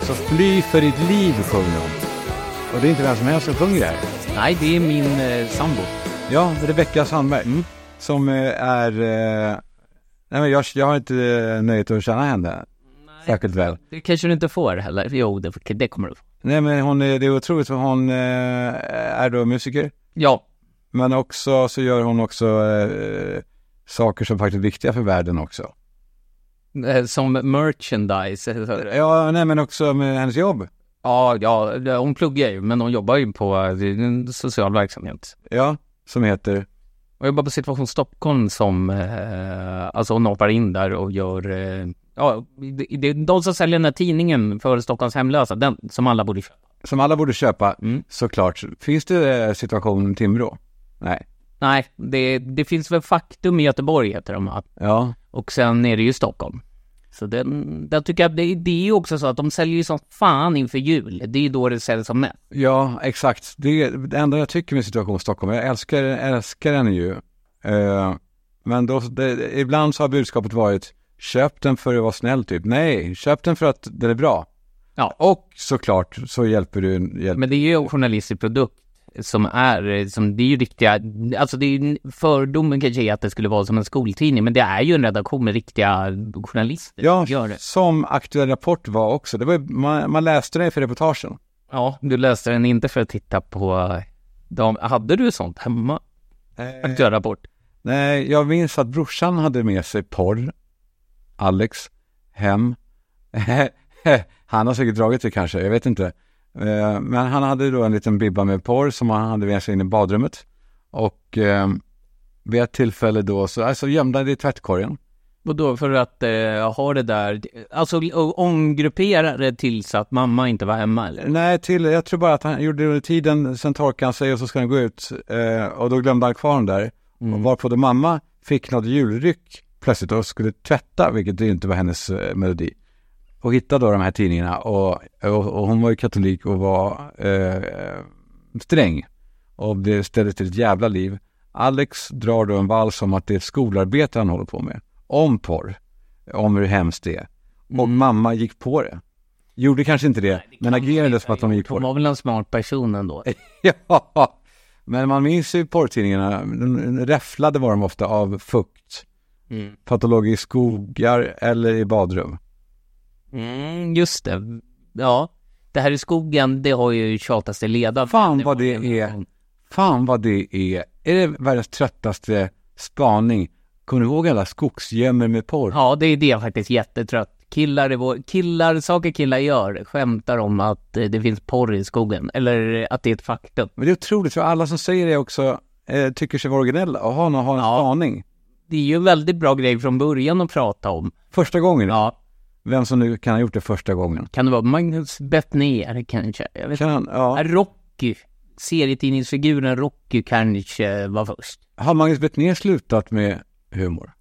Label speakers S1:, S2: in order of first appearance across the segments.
S1: Så fly för ditt liv sjöng de.
S2: Och det är inte vem som helst som sjunger det här.
S1: Nej, det är min eh, sambo.
S2: Ja, Rebecka Sandberg.
S1: Mm.
S2: Som eh, är... Eh, nej men jag, jag har inte eh, nöjet att känna henne särskilt väl.
S3: Det kanske du inte får heller. Jo, det, det kommer du få.
S2: Nej men hon, är- det är otroligt för hon eh, är då musiker.
S3: Ja,
S2: Men också så gör hon också eh, saker som faktiskt är viktiga för världen också.
S3: eh, som merchandise. eh,
S2: Ja, nej men också med hennes jobb.
S3: Ja, ja, hon pluggar ju, men hon jobbar ju på eh, social verksamhet.
S2: Ja, som heter...
S3: Och jag jobbar på Situation Stockholm som, eh, alltså hon hoppar in där och gör, eh, ja, det, det är de som säljer den här tidningen för Stockholms hemlösa, den som alla borde köpa.
S2: Som alla borde köpa,
S3: Mm.
S2: såklart. Finns det eh, situation Timrå? Nej.
S3: Nej, det, det finns väl Faktum i Göteborg heter de, att
S2: Ja.
S3: Och sen är det ju Stockholm. Så den, den tycker jag, det, det är ju också så att de säljer ju som fan inför jul. Det är ju då det säljs som mest.
S2: Ja, exakt. Det, är det enda jag tycker med Situation Stockholm, jag älskar, älskar den ju. Eh, men då, det, ibland så har budskapet varit köp den för att vara snäll typ. Nej, köp den för att den är bra.
S3: Ja.
S2: Och såklart så hjälper du. Hjälp.
S3: Men det är ju en journalistisk produkt som är, som det är ju riktiga, alltså det är ju, fördomen kanske är att det skulle vara som en skoltidning, men det är ju en redaktion med riktiga journalister
S2: ja,
S3: som gör det.
S2: som Aktuell Rapport var också. Det var, ju- man, man läste det för reportagen.
S3: Ja, du läste den inte för att titta på de, hade du sånt hemma?
S2: Eh,
S3: Aktuell Rapport?
S2: Nej, jag minns att brorsan hade med sig porr, Alex, hem. han har säkert dragit det kanske, jag vet inte. Eh, Men han hade då en liten bibba med porr som han hade med sig in i badrummet. Och eh, vid ett tillfälle då så alltså, gömde han det i tvättkorgen.
S3: Och då för att eh, ha det där, alltså omgruppera det tills att mamma inte var hemma eller?
S2: Nej, till, jag tror bara att han gjorde det under tiden, sen torkade han sig och så ska han gå ut. Eh, och då glömde han kvar den där. Och varpå då mamma fick något julryck plötsligt och skulle tvätta, vilket det inte var hennes eh, melodi. Och hittade då de här tidningarna och, och, och hon var ju katolik och var eh, sträng. Och det ställde till ett jävla liv. Alex drar då en vals om att det är ett skolarbete han håller på med. Om porr. Om hur hemskt det är. Och mamma gick på det. Gjorde kanske inte Mm. det, men agerade som att de gick på
S3: Hon
S2: det.
S3: var väl en smart person ändå?
S2: Ja, men man minns ju porrtidningarna. Räfflade var de ofta av fukt.
S3: Mm.
S2: Patolog i skogar eller i badrum.
S3: Mm, just det. Ja. Det här i skogen, det har ju tjatats till leda.
S2: Fan vad det är. Fan vad det är. Är det världens tröttaste spaning? Kommer du ihåg alla skogsgömmor med porr?
S3: Ja, det är det jag faktiskt jättetrött. Killar, i vår, killar, saker killar gör, skämtar om att eh, det finns porr i skogen. Eller eh, att det är ett faktum.
S2: Men det är otroligt, för alla som säger det också eh, tycker sig vara originella och har, någon- har en spaning.
S3: Det är ju en väldigt bra grej från början att prata om.
S2: Första gången,
S3: Ja.
S2: vem som nu kan ha gjort det första gången.
S3: Kan det vara Magnus Bettner kanske? Jag vet inte.
S2: Kan han, ja.
S3: Rocky. Serietidningsfiguren Rocky kanske eh, var först.
S2: Har Magnus Bettner slutat med humor?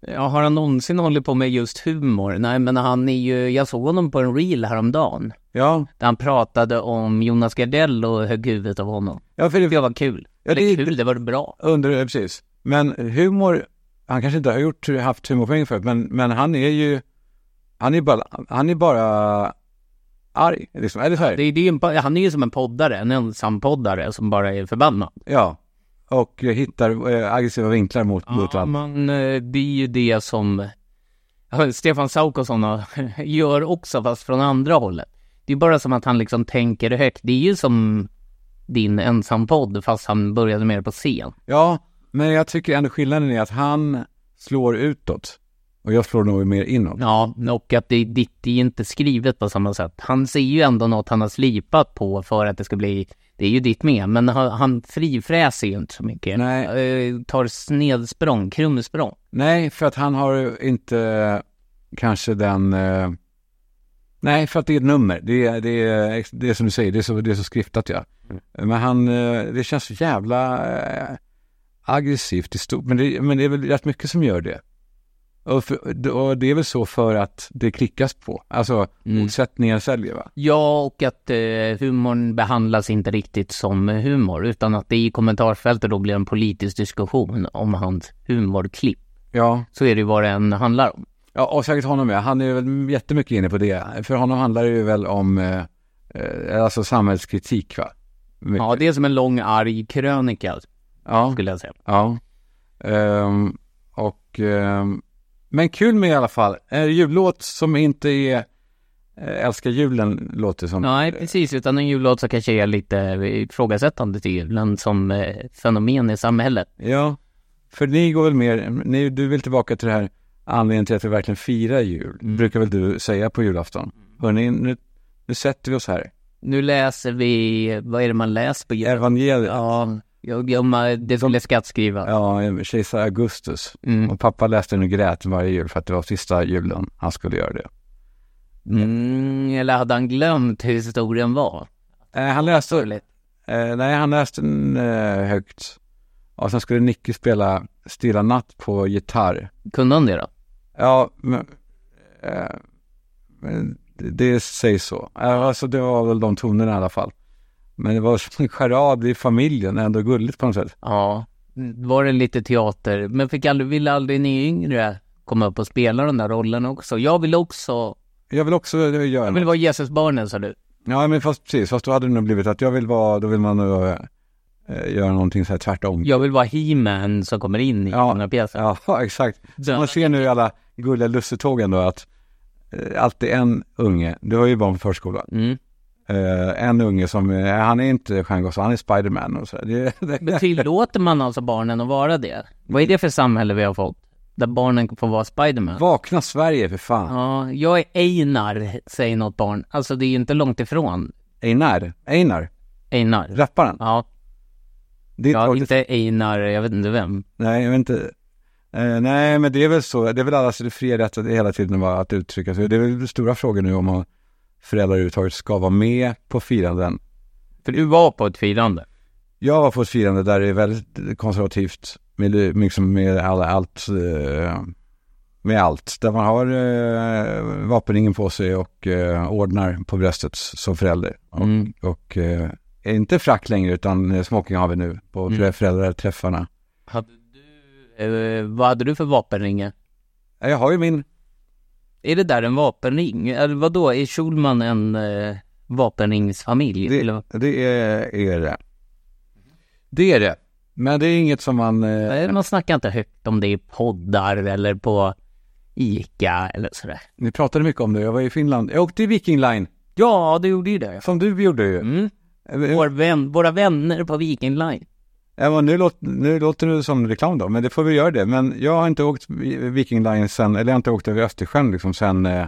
S3: Ja, har han någonsin hållit på med just humor? Nej, men han är ju, jag såg honom på en reel häromdagen.
S2: Ja,
S3: Där han pratade om Jonas Gardell och högg huvudet av honom.
S2: ja för det
S3: Det var kul.
S2: Ja, det-
S3: Eller kul, det var bra.
S2: Under, eh, precis. Men humor, han kanske inte har gjort, haft humorpoäng förut, men, men han är ju, han är bara, han är bara arg, liksom. Eller så här,
S3: Det, är- det är ju en, po- han är ju som en poddare, en ensampoddare som bara är förbannad.
S2: ja. Och eh, hittar eh, aggressiva vinklar mot, mot
S3: Ja,
S2: allt.
S3: men eh, det är ju det som ja, Stefan Saukosson har- gör också, fast från andra hållet. Det är bara som att han liksom tänker högt. Det är ju som din ensampodd, fast han började med det på scen.
S2: Ja, men jag tycker ändå skillnaden är att han slår utåt och jag slår nog mer inåt.
S3: Ja, och att det, det, det är inte skrivet på samma sätt. Han ser ju ändå något han har slipat på för att det ska bli, det är ju ditt med, men han, han frifräser ju inte så mycket.
S2: Nej.
S3: Eh, tar snedsprång, krumsprång.
S2: Nej, för att han har inte eh, kanske den... Eh, nej, för att det är ett nummer. Det är, det är, det är som du säger, det är så, det är så skriftat ja. Men han, eh, det känns så jävla eh, aggressivt i stort. Men det, men det är väl rätt mycket som gör det. Och, för, och det är väl så för att det klickas på. Alltså, motsättningar säljer va?
S3: Ja, och att eh, humorn behandlas inte riktigt som humor, utan att det i kommentarsfältet då blir en politisk diskussion om hans humorklipp.
S2: Ja,
S3: Så är det ju vad den handlar om.
S2: Ja, och säkert honom ja. Han är väl jättemycket inne på det. För honom handlar det ju väl om eh, eh, alltså samhällskritik va? Mycket.
S3: Ja, det är som en lång arg krönika
S2: Ja.
S3: skulle jag säga.
S2: ja. Ehm, och, ehm, men kul med i alla fall. En jullåt som inte är eh, Älskar julen låter det som.
S3: Nej, precis. Utan en jullåt som kanske är lite ifrågasättande till julen som eh, fenomen i samhället.
S2: Ja, för ni går väl mer, ni, du vill tillbaka till det här anledningen till att vi verkligen firar jul, brukar väl du säga på julafton. Hörni, nu, nu sätter vi oss här.
S3: Nu läser vi, vad är det man läser på julen?
S2: Evangeliet.
S3: Ja, jag, jag, man- det skulle skattskriva.
S2: Ja, kejsar Augustus.
S3: Mm.
S2: Och pappa läste den och grät varje jul för att det var sista julen han skulle göra det.
S3: Mm, eller hade han glömt hur historien var?
S2: Eh, han läste,
S3: Sorgligt.
S2: eh, nej han läste den eh, högt. Och sen skulle Nicky spela Stilla natt på gitarr.
S3: Kunde han det då?
S2: Ja, men, eh, men det, det sägs så. Eh, Alltså det var väl de tonerna i alla fall. Men det var som en charad i familjen, ändå gulligt på något sätt.
S3: Ja. Var det lite teater? Men fick aldrig, ville aldrig ni yngre komma upp och spela de där rollerna också? Jag vill också...
S2: Jag vill också eh, göra
S3: Jag vill
S2: något.
S3: vara Jesusbarnen sa du.
S2: Ja, men fast precis, fast då hade det nog blivit att jag vill vara, då vill man nog eh, eh, göra någonting så här tvärtom.
S3: Jag vill vara He-Man som kommer in i
S2: Ja.
S3: den här pjäsen.
S2: Ja, exakt. Så man ser nu i alla gulliga lussetågen då att eh, alltid en unge, du har ju barn på förskolan,
S3: Mm.
S2: eh, en unge som, eh, han är inte Stjärngosse, han är Spiderman och så. där. Det,
S3: Men
S2: det,
S3: tillåter man alltså barnen att vara det? Vad är det för samhälle vi har fått? Där barnen får vara Spiderman?
S2: Vakna Sverige för fan.
S3: Ja, jag är Einar, säger något barn. Alltså det är ju inte långt ifrån
S2: Einar, Einar,
S3: Einar.
S2: rapparen.
S3: Ja,
S2: Det är
S3: ja
S2: inte...
S3: inte Einar, jag vet inte vem.
S2: Nej, jag vet inte. Eh, nej, men det är väl så, det är väl allas fria rätt att hela tiden vara att uttrycka sig. Det är väl stora frågor nu om föräldrar överhuvudtaget ska vara med på firanden.
S3: För du var på ett firande.
S2: Jag var på ett firande där det är väldigt konservativt med, liksom med all, allt. eh, Med allt. Där man har eh, vapenringen på sig och eh, ordnar på bröstet som förälder. Och,
S3: Mm.
S2: och eh, är inte frack längre utan eh, smoking har vi nu på mm. föräldraträffarna.
S3: Hade du, eh, vad hade du för vapenringar?
S2: Eh, Jag har ju min,
S3: Är det där en vapenring? Eller vadå, är Schulman en eh, vapenringsfamilj?
S2: det,
S3: Eller-
S2: det är, är det. Det är det. Men det är inget som man... eh,
S3: Nej, Man snackar inte högt om det i poddar eller på Ica eller sådär.
S2: Ni pratade mycket om det. Jag var i Finland. Jag åkte i Viking Line.
S3: Ja, du gjorde ju det.
S2: Som du gjorde ju.
S3: Mm.
S2: Eh,
S3: Vår vän, våra vänner på Viking Line.
S2: Ja, men nu, låter, nu låter det som reklam då, men det får vi göra det. Men jag har inte åkt Viking Line sen, eller jag har inte åkt över Östersjön liksom sen, eh,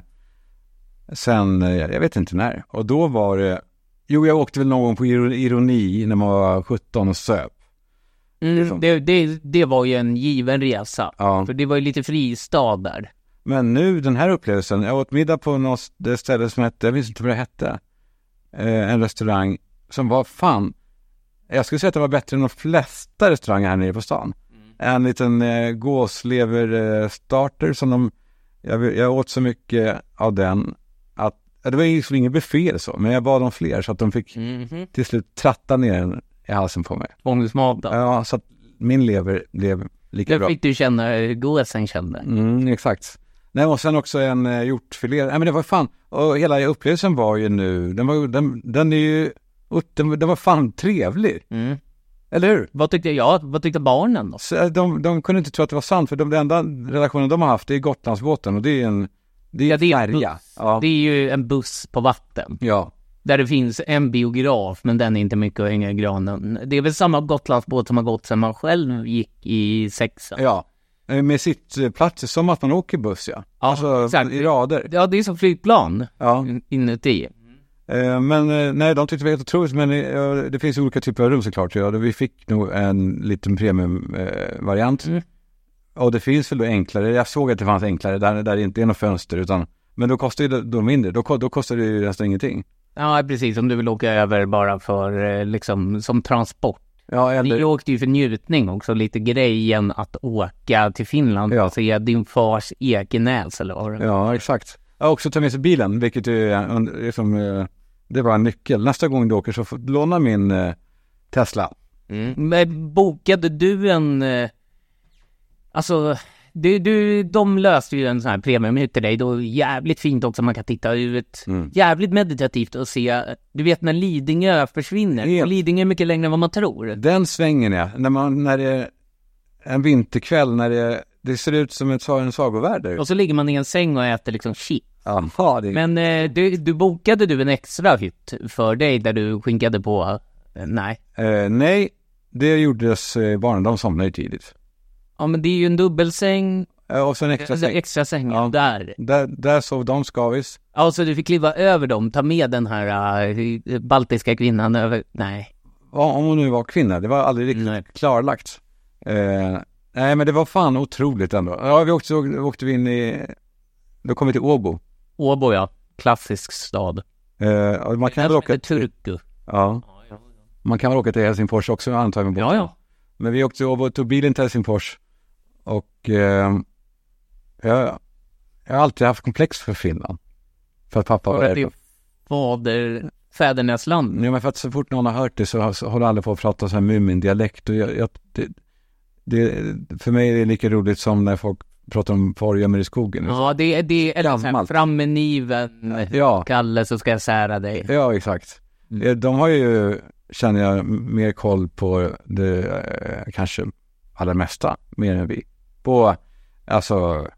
S2: sen, eh, jag vet inte när. Och då var det, jo jag åkte väl någon gång på iro- ironi när man var 17 och söp.
S3: Mm, det, det, det var ju en given resa.
S2: Ja.
S3: För det var ju lite fristad där.
S2: Men nu den här upplevelsen, jag åt middag på något det ställe som hette, jag minns inte vad det hette, eh, en restaurang som var fan, jag skulle säga att det var bättre än de flesta restauranger här nere på stan. En liten eh, gåslever eh, starter som de, jag, vill- jag åt så mycket av den att, ja, det var ju liksom ingen buffé eller så, men jag bad om fler så att de fick
S3: Mm-hmm.
S2: till slut tratta ner den i halsen på mig. Ja, så att min lever blev lika
S3: Där
S2: bra.
S3: fick du känna hur gåsen kände.
S2: Mm, exakt. Nej, och sen också en eh, hjortfilé. Nej, men det var fan, och hela upplevelsen var ju nu, den var ju- den, den är ju, ut- den, den var fan trevlig.
S3: Mm.
S2: Eller hur?
S3: Vad tyckte jag? Vad tyckte barnen då?
S2: Så eh, de, de kunde inte tro att det var sant, för de, den enda relationen de har haft är Gotlandsbåten och det är en, det är
S3: Ja,
S2: en
S3: det är en
S2: färja.
S3: buss.
S2: Ja.
S3: Det är ju en buss på vatten.
S2: ja.
S3: Där det finns en biograf, men den är inte mycket att hänga i granen. Det är väl samma Gotlandsbåt som har gått sedan man själv gick i sexan.
S2: Ja. Eh, Med sittplatser, som att man åker buss ja.
S3: Ja,
S2: alltså
S3: exakt.
S2: i rader.
S3: Ja, det är som flygplan
S2: Ja.
S3: in- inuti.
S2: Eh, Men eh, nej, de tyckte det var helt otroligt. Men eh, det finns ju olika typer av rum såklart. Ja, vi fick nog en liten premiumvariant.
S3: Mm.
S2: Och det finns väl då enklare. Jag såg att det fanns enklare där, där det inte är något fönster. Utan, men då kostar ju de- de mindre. Då, ko- då kostar det ju nästan ingenting.
S3: Ja, precis. Om du vill åka över bara för eh, liksom som transport.
S2: Ja,
S3: Ni
S2: eller,
S3: åkte ju för njutning också, lite grejen att åka till Finland
S2: Ja.
S3: och se din fars Ekenäs eller vad det var.
S2: ja exakt. Ja, också ta med sig bilen, vilket ju är en- liksom, eh, det var en nyckel. Nästa gång du åker så får du låna min eh, Tesla.
S3: Men bokade du en... eh, Alltså, Du, du, de löste ju en sån här premiumhytt till dig. Då jävligt fint också, man kan titta ut.
S2: Mm.
S3: Jävligt meditativt att se, du vet när Lidingö försvinner.
S2: Helt.
S3: Lidingö är mycket längre än vad man tror.
S2: Den svängen ja, när, man, när det är en vinterkväll, när det, det ser ut som ett, sa- en sagovärld där ute.
S3: Och så ligger man i en säng och äter liksom shit.
S2: Ja, det är
S3: Men eh, du, du bokade du en extra hytt för dig där du skinkade på, eh, nej.
S2: Eh, nej, det gjordes eh, barnen. De somnade ju tidigt.
S3: Ja men det är ju en dubbelsäng,
S2: Eh, och sen extra
S3: alltså,
S2: säng.
S3: extra säng
S2: Ja.
S3: där.
S2: Där, där sov de skavis.
S3: Ja så du fick kliva över dem, ta med den här eh, baltiska kvinnan över, nej.
S2: Ja, Om hon nu var kvinna, det var aldrig riktigt
S3: Nej.
S2: klarlagt. Eh, nej, men det var fan otroligt ändå. Ja, vi åkte, åkte vi in i... Då kom vi till Åbo.
S3: Åbo ja, klassisk stad.
S2: Eh, och man, kan väl åka,
S3: heter Turku.
S2: ja, man kan väl åka till Helsingfors också antar jag med båt.
S3: Ja, ja.
S2: Men vi åkte till Åbo och tog bilen till Helsingfors. Och eh, jag, jag har alltid haft komplex för Finland. För att pappa var
S3: För att det Mm.
S2: därifrån.
S3: är fader, fädernesland.
S2: Ja, men för att så fort någon har hört det så har- så håller alla på att prata så här Mumin-dialekt och jag, jag det, det, för mig är det lika roligt som när folk pratar om vad du gömmer i skogen.
S3: Ja, det är, det är eller så här,
S2: Gammalt.
S3: fram med niven,
S2: Ja,
S3: Kalle så ska jag sära dig.
S2: ja exakt. Eh, De har ju, känner jag, m- mer koll på det eh, kanske allra mesta, mer än vi. På, alltså,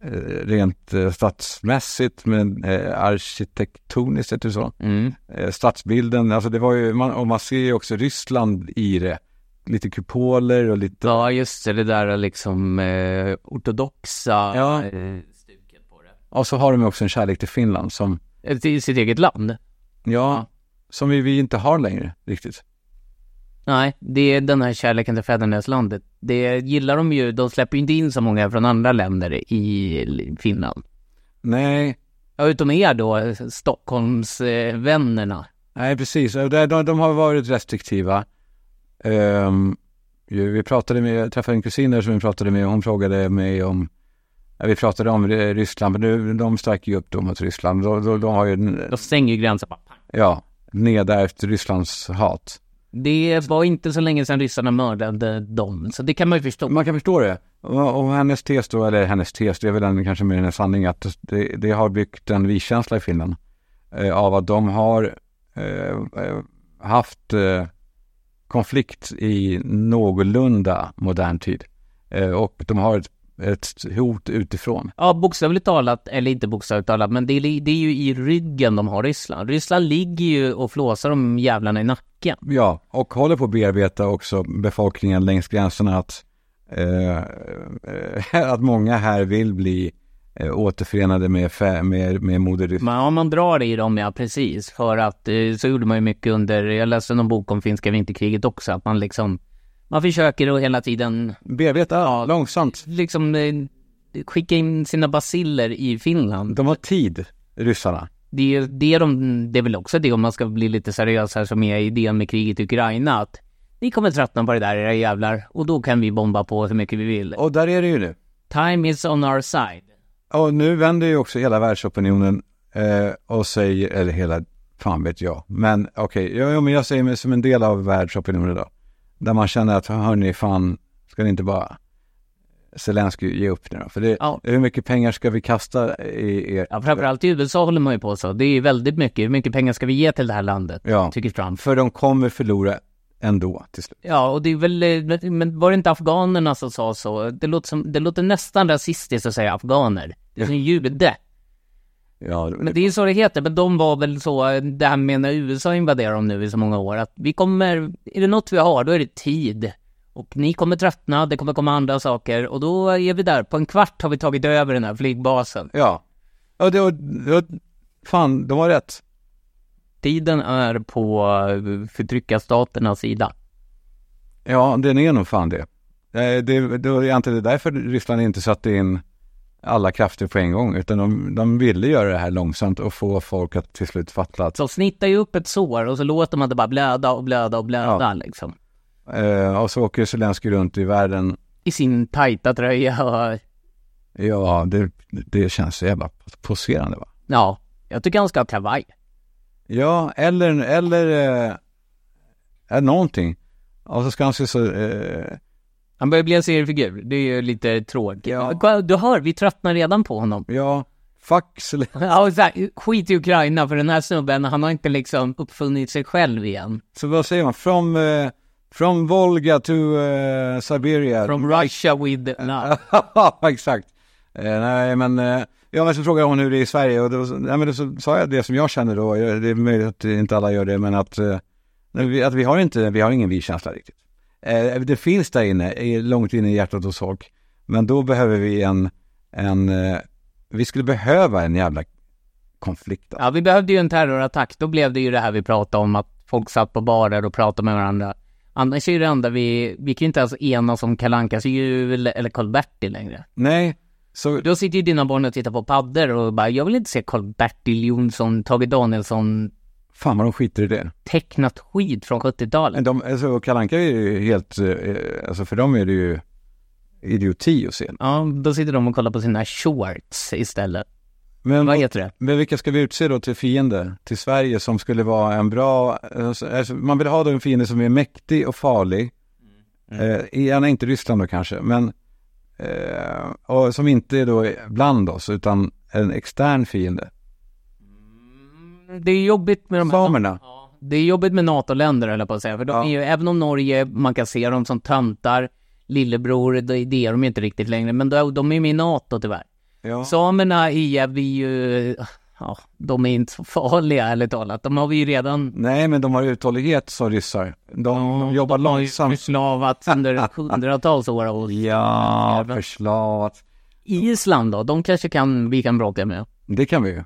S2: eh, rent eh, stadsmässigt men eh, arkitektoniskt, heter det så?
S3: Mm.
S2: eh, stadsbilden. Alltså det var ju, man, och man ser ju också Ryssland i det. Lite kupoler och lite...
S3: Ja, just det, det där liksom eh, ortodoxa
S2: Ja.
S3: eh, stuket på det.
S2: Och så har de ju också en kärlek till Finland som,
S3: Eh, Till sitt eget land.
S2: ja, som vi, vi inte har längre riktigt.
S3: Nej, det är den här kärleken till fäderneslandet. Det gillar de ju, de släpper ju inte in så många från andra länder i Finland.
S2: Nej,
S3: Ja, utom er då, Stockholmsvännerna.
S2: nej precis. Och där- De, de har varit restriktiva. Ehm, ju, vi pratade med, jag träffade en kusin där som vi pratade med och hon frågade mig om ja, vi pratade om eh, Ryssland, men nu, de stärker ju upp då mot Ryssland. De, de, de har ju, en-
S3: De stänger ju gränsen bara. pang.
S2: ja, nedärvt Rysslands hat.
S3: Det var inte så länge sedan ryssarna mördade dem, så det kan man ju förstå.
S2: Man kan förstå det. Och och hennes tes då, eller hennes tes, det är väl den, kanske mer en sanning, att det, det har byggt en vi-känsla i Finland. Eh, av att de har eh, eh, haft eh, konflikt i någorlunda modern tid. Eh, och de har ett, ett hot utifrån.
S3: Ja, bokstavligt talat, eller inte bokstavligt talat, men det är, det är ju i ryggen de har Ryssland. Ryssland ligger ju och flåsar de jävlarna i nacken.
S2: Ja, och håller på att bearbeta också befolkningen längs gränserna att, eh, eh, att många här vill bli eh, återförenade med, fä- med, med moder Ryssland.
S3: Men ja, man drar i dem, ja precis. För att eh, så gjorde man ju mycket under, jag läste någon bok om finska vinterkriget också, att man liksom, man försöker att hela tiden
S2: Bearbeta långsamt.
S3: liksom eh, skicka in sina basiller i Finland.
S2: De har tid, ryssarna.
S3: Det är, det, är de, det är väl också det om man ska bli lite seriös här som är idén med kriget i Ukraina, att ni kommer tröttna på det där era jävlar och då kan vi bomba på hur mycket vi vill.
S2: Och där är det ju nu.
S3: Time is on our side.
S2: Och nu vänder ju också hela världsopinionen eh, och säger, eller hela, fan vet jag. Men okej, ja, ja, men jag säger mig som en del av världsopinionen idag. Där man känner att, hörni, fan, ska ni inte bara Zelenskyj ge upp nu då? För det,
S3: Ja.
S2: hur mycket pengar ska vi kasta i er?
S3: Ja, framförallt i USA håller man ju på så. Det är väldigt mycket. Hur mycket pengar ska vi ge till det här landet?
S2: Ja.
S3: Tycker Trump.
S2: För de kommer förlora ändå till slut.
S3: Ja, och det är väl, eh, men var det inte afghanerna som sa så? Det låter, som, det låter nästan rasistiskt att säga afghaner. Det är som jude.
S2: Ja,
S3: Men det är ju så det heter, men de var väl så, eh, det här med när USA invaderar dem nu i så många år, att vi kommer, är det något vi har, då är det tid. Och ni kommer tröttna, det kommer komma andra saker, och då är vi där. På en kvart har vi tagit över den här flygbasen.
S2: ja. Och det, och, och, fan, de har rätt.
S3: Tiden är på eh, förtryckarstaternas sida.
S2: Ja, den är nog fan det. Eh, Det, det är inte det är därför Ryssland inte satte in alla krafter på en gång, utan de, de ville göra det här långsamt och få folk att till slut fatta att,
S3: Så snittar ju upp ett sår och så låter man det bara blöda och blöda och blöda
S2: Ja.
S3: liksom.
S2: eh, och så åker Zelenskyj runt i världen.
S3: I sin tajta tröja och,
S2: Ja, det, det känns så jävla poserande va?
S3: ja, jag tycker han ska ha kavaj.
S2: Ja, eller, eller eh, eh, någonting. Och så ska han se så eh,
S3: Han börjar bli en seriefigur. Det är ju lite tråkigt. Kolla, Du hör, vi tröttnar redan på honom.
S2: Ja, fuck Zelenskyj.
S3: Ja, och så här, skit i Ukraina, för den här snubben, han har inte liksom uppfunnit sig själv igen.
S2: Så vad säger man? From, eh, from Volga to eh, Siberia.
S3: From Russia with love.
S2: Ja, exakt. Eh, nej, men... Eh, ja, men så frågade hon hur det är i Sverige och då, så- nej, men då så sa jag det som jag känner då. Jag- Det är möjligt att inte alla gör det, men att, eh, nej, vi- att vi har inte, vi har ingen vi-känsla riktigt. Eh, det finns där inne, i- långt inne i hjärtat hos folk. Men då behöver vi en, en eh, vi skulle behöva en jävla konflikt.
S3: Ja, vi behövde ju en terrorattack. Då blev det ju det här vi pratade om, att folk satt på barer och pratade med varandra. Annars är ju det enda vi, vi kan ju inte ens enas om Kalle Ankas jul eller Karl-Bertil längre.
S2: Nej, så
S3: Då sitter ju dina barn och tittar på paddor och bara, jag vill inte se Karl-Bertil Jonsson, Tage Danielsson,
S2: fan vad de skiter i det.
S3: tecknat skit från 70-talet.
S2: Men de, alltså Kalle Anka är ju helt, eh, alltså för dem är det ju idioti att se.
S3: Ja, då sitter de och kollar på sina shorts istället.
S2: Men,
S3: Vad heter det?
S2: men vilka ska vi utse då till fiender till Sverige som skulle vara en bra, alltså, alltså, man vill ha då en fiende som är mäktig och farlig. Eh, gärna inte Ryssland då kanske, men eh, och som inte är då bland oss utan en extern fiende.
S3: Det är jobbigt med de här...
S2: Samerna.
S3: Det är jobbigt med NATO-länder höll jag på att säga, för de
S2: Ja.
S3: är ju, även om Norge, man kan se dem som töntar, lillebror, det, det är de ju inte riktigt längre, men de, de är med i NATO tyvärr.
S2: Ja.
S3: Samerna är vi ju, ja, de är inte så farliga ärligt talat. De har vi ju redan
S2: Nej, men de har uthållighet sa ryssar. De jobbar långsamt.
S3: förslavat under hundratals år. Och
S2: Ja, förslavat.
S3: Island då, de kanske kan, vi kan bråka med.
S2: Det kan vi ju.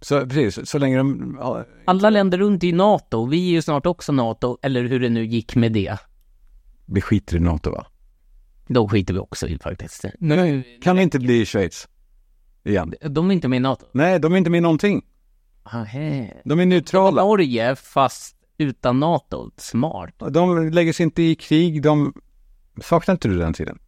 S2: Så precis, så länge de... ja,
S3: Alla länder runt i NATO, vi är ju snart också NATO, eller hur det nu gick med det.
S2: Vi skiter i NATO va?
S3: Då skiter vi också i faktiskt. Nu,
S2: Kan det inte bli Schweiz? Igen.
S3: de är inte med i NATO.
S2: Nej, de är inte med i någonting.
S3: Aha.
S2: De är neutrala.
S3: Norge fast utan NATO. Smart.
S2: De lägger sig inte i krig. De... Saknar inte du den tiden?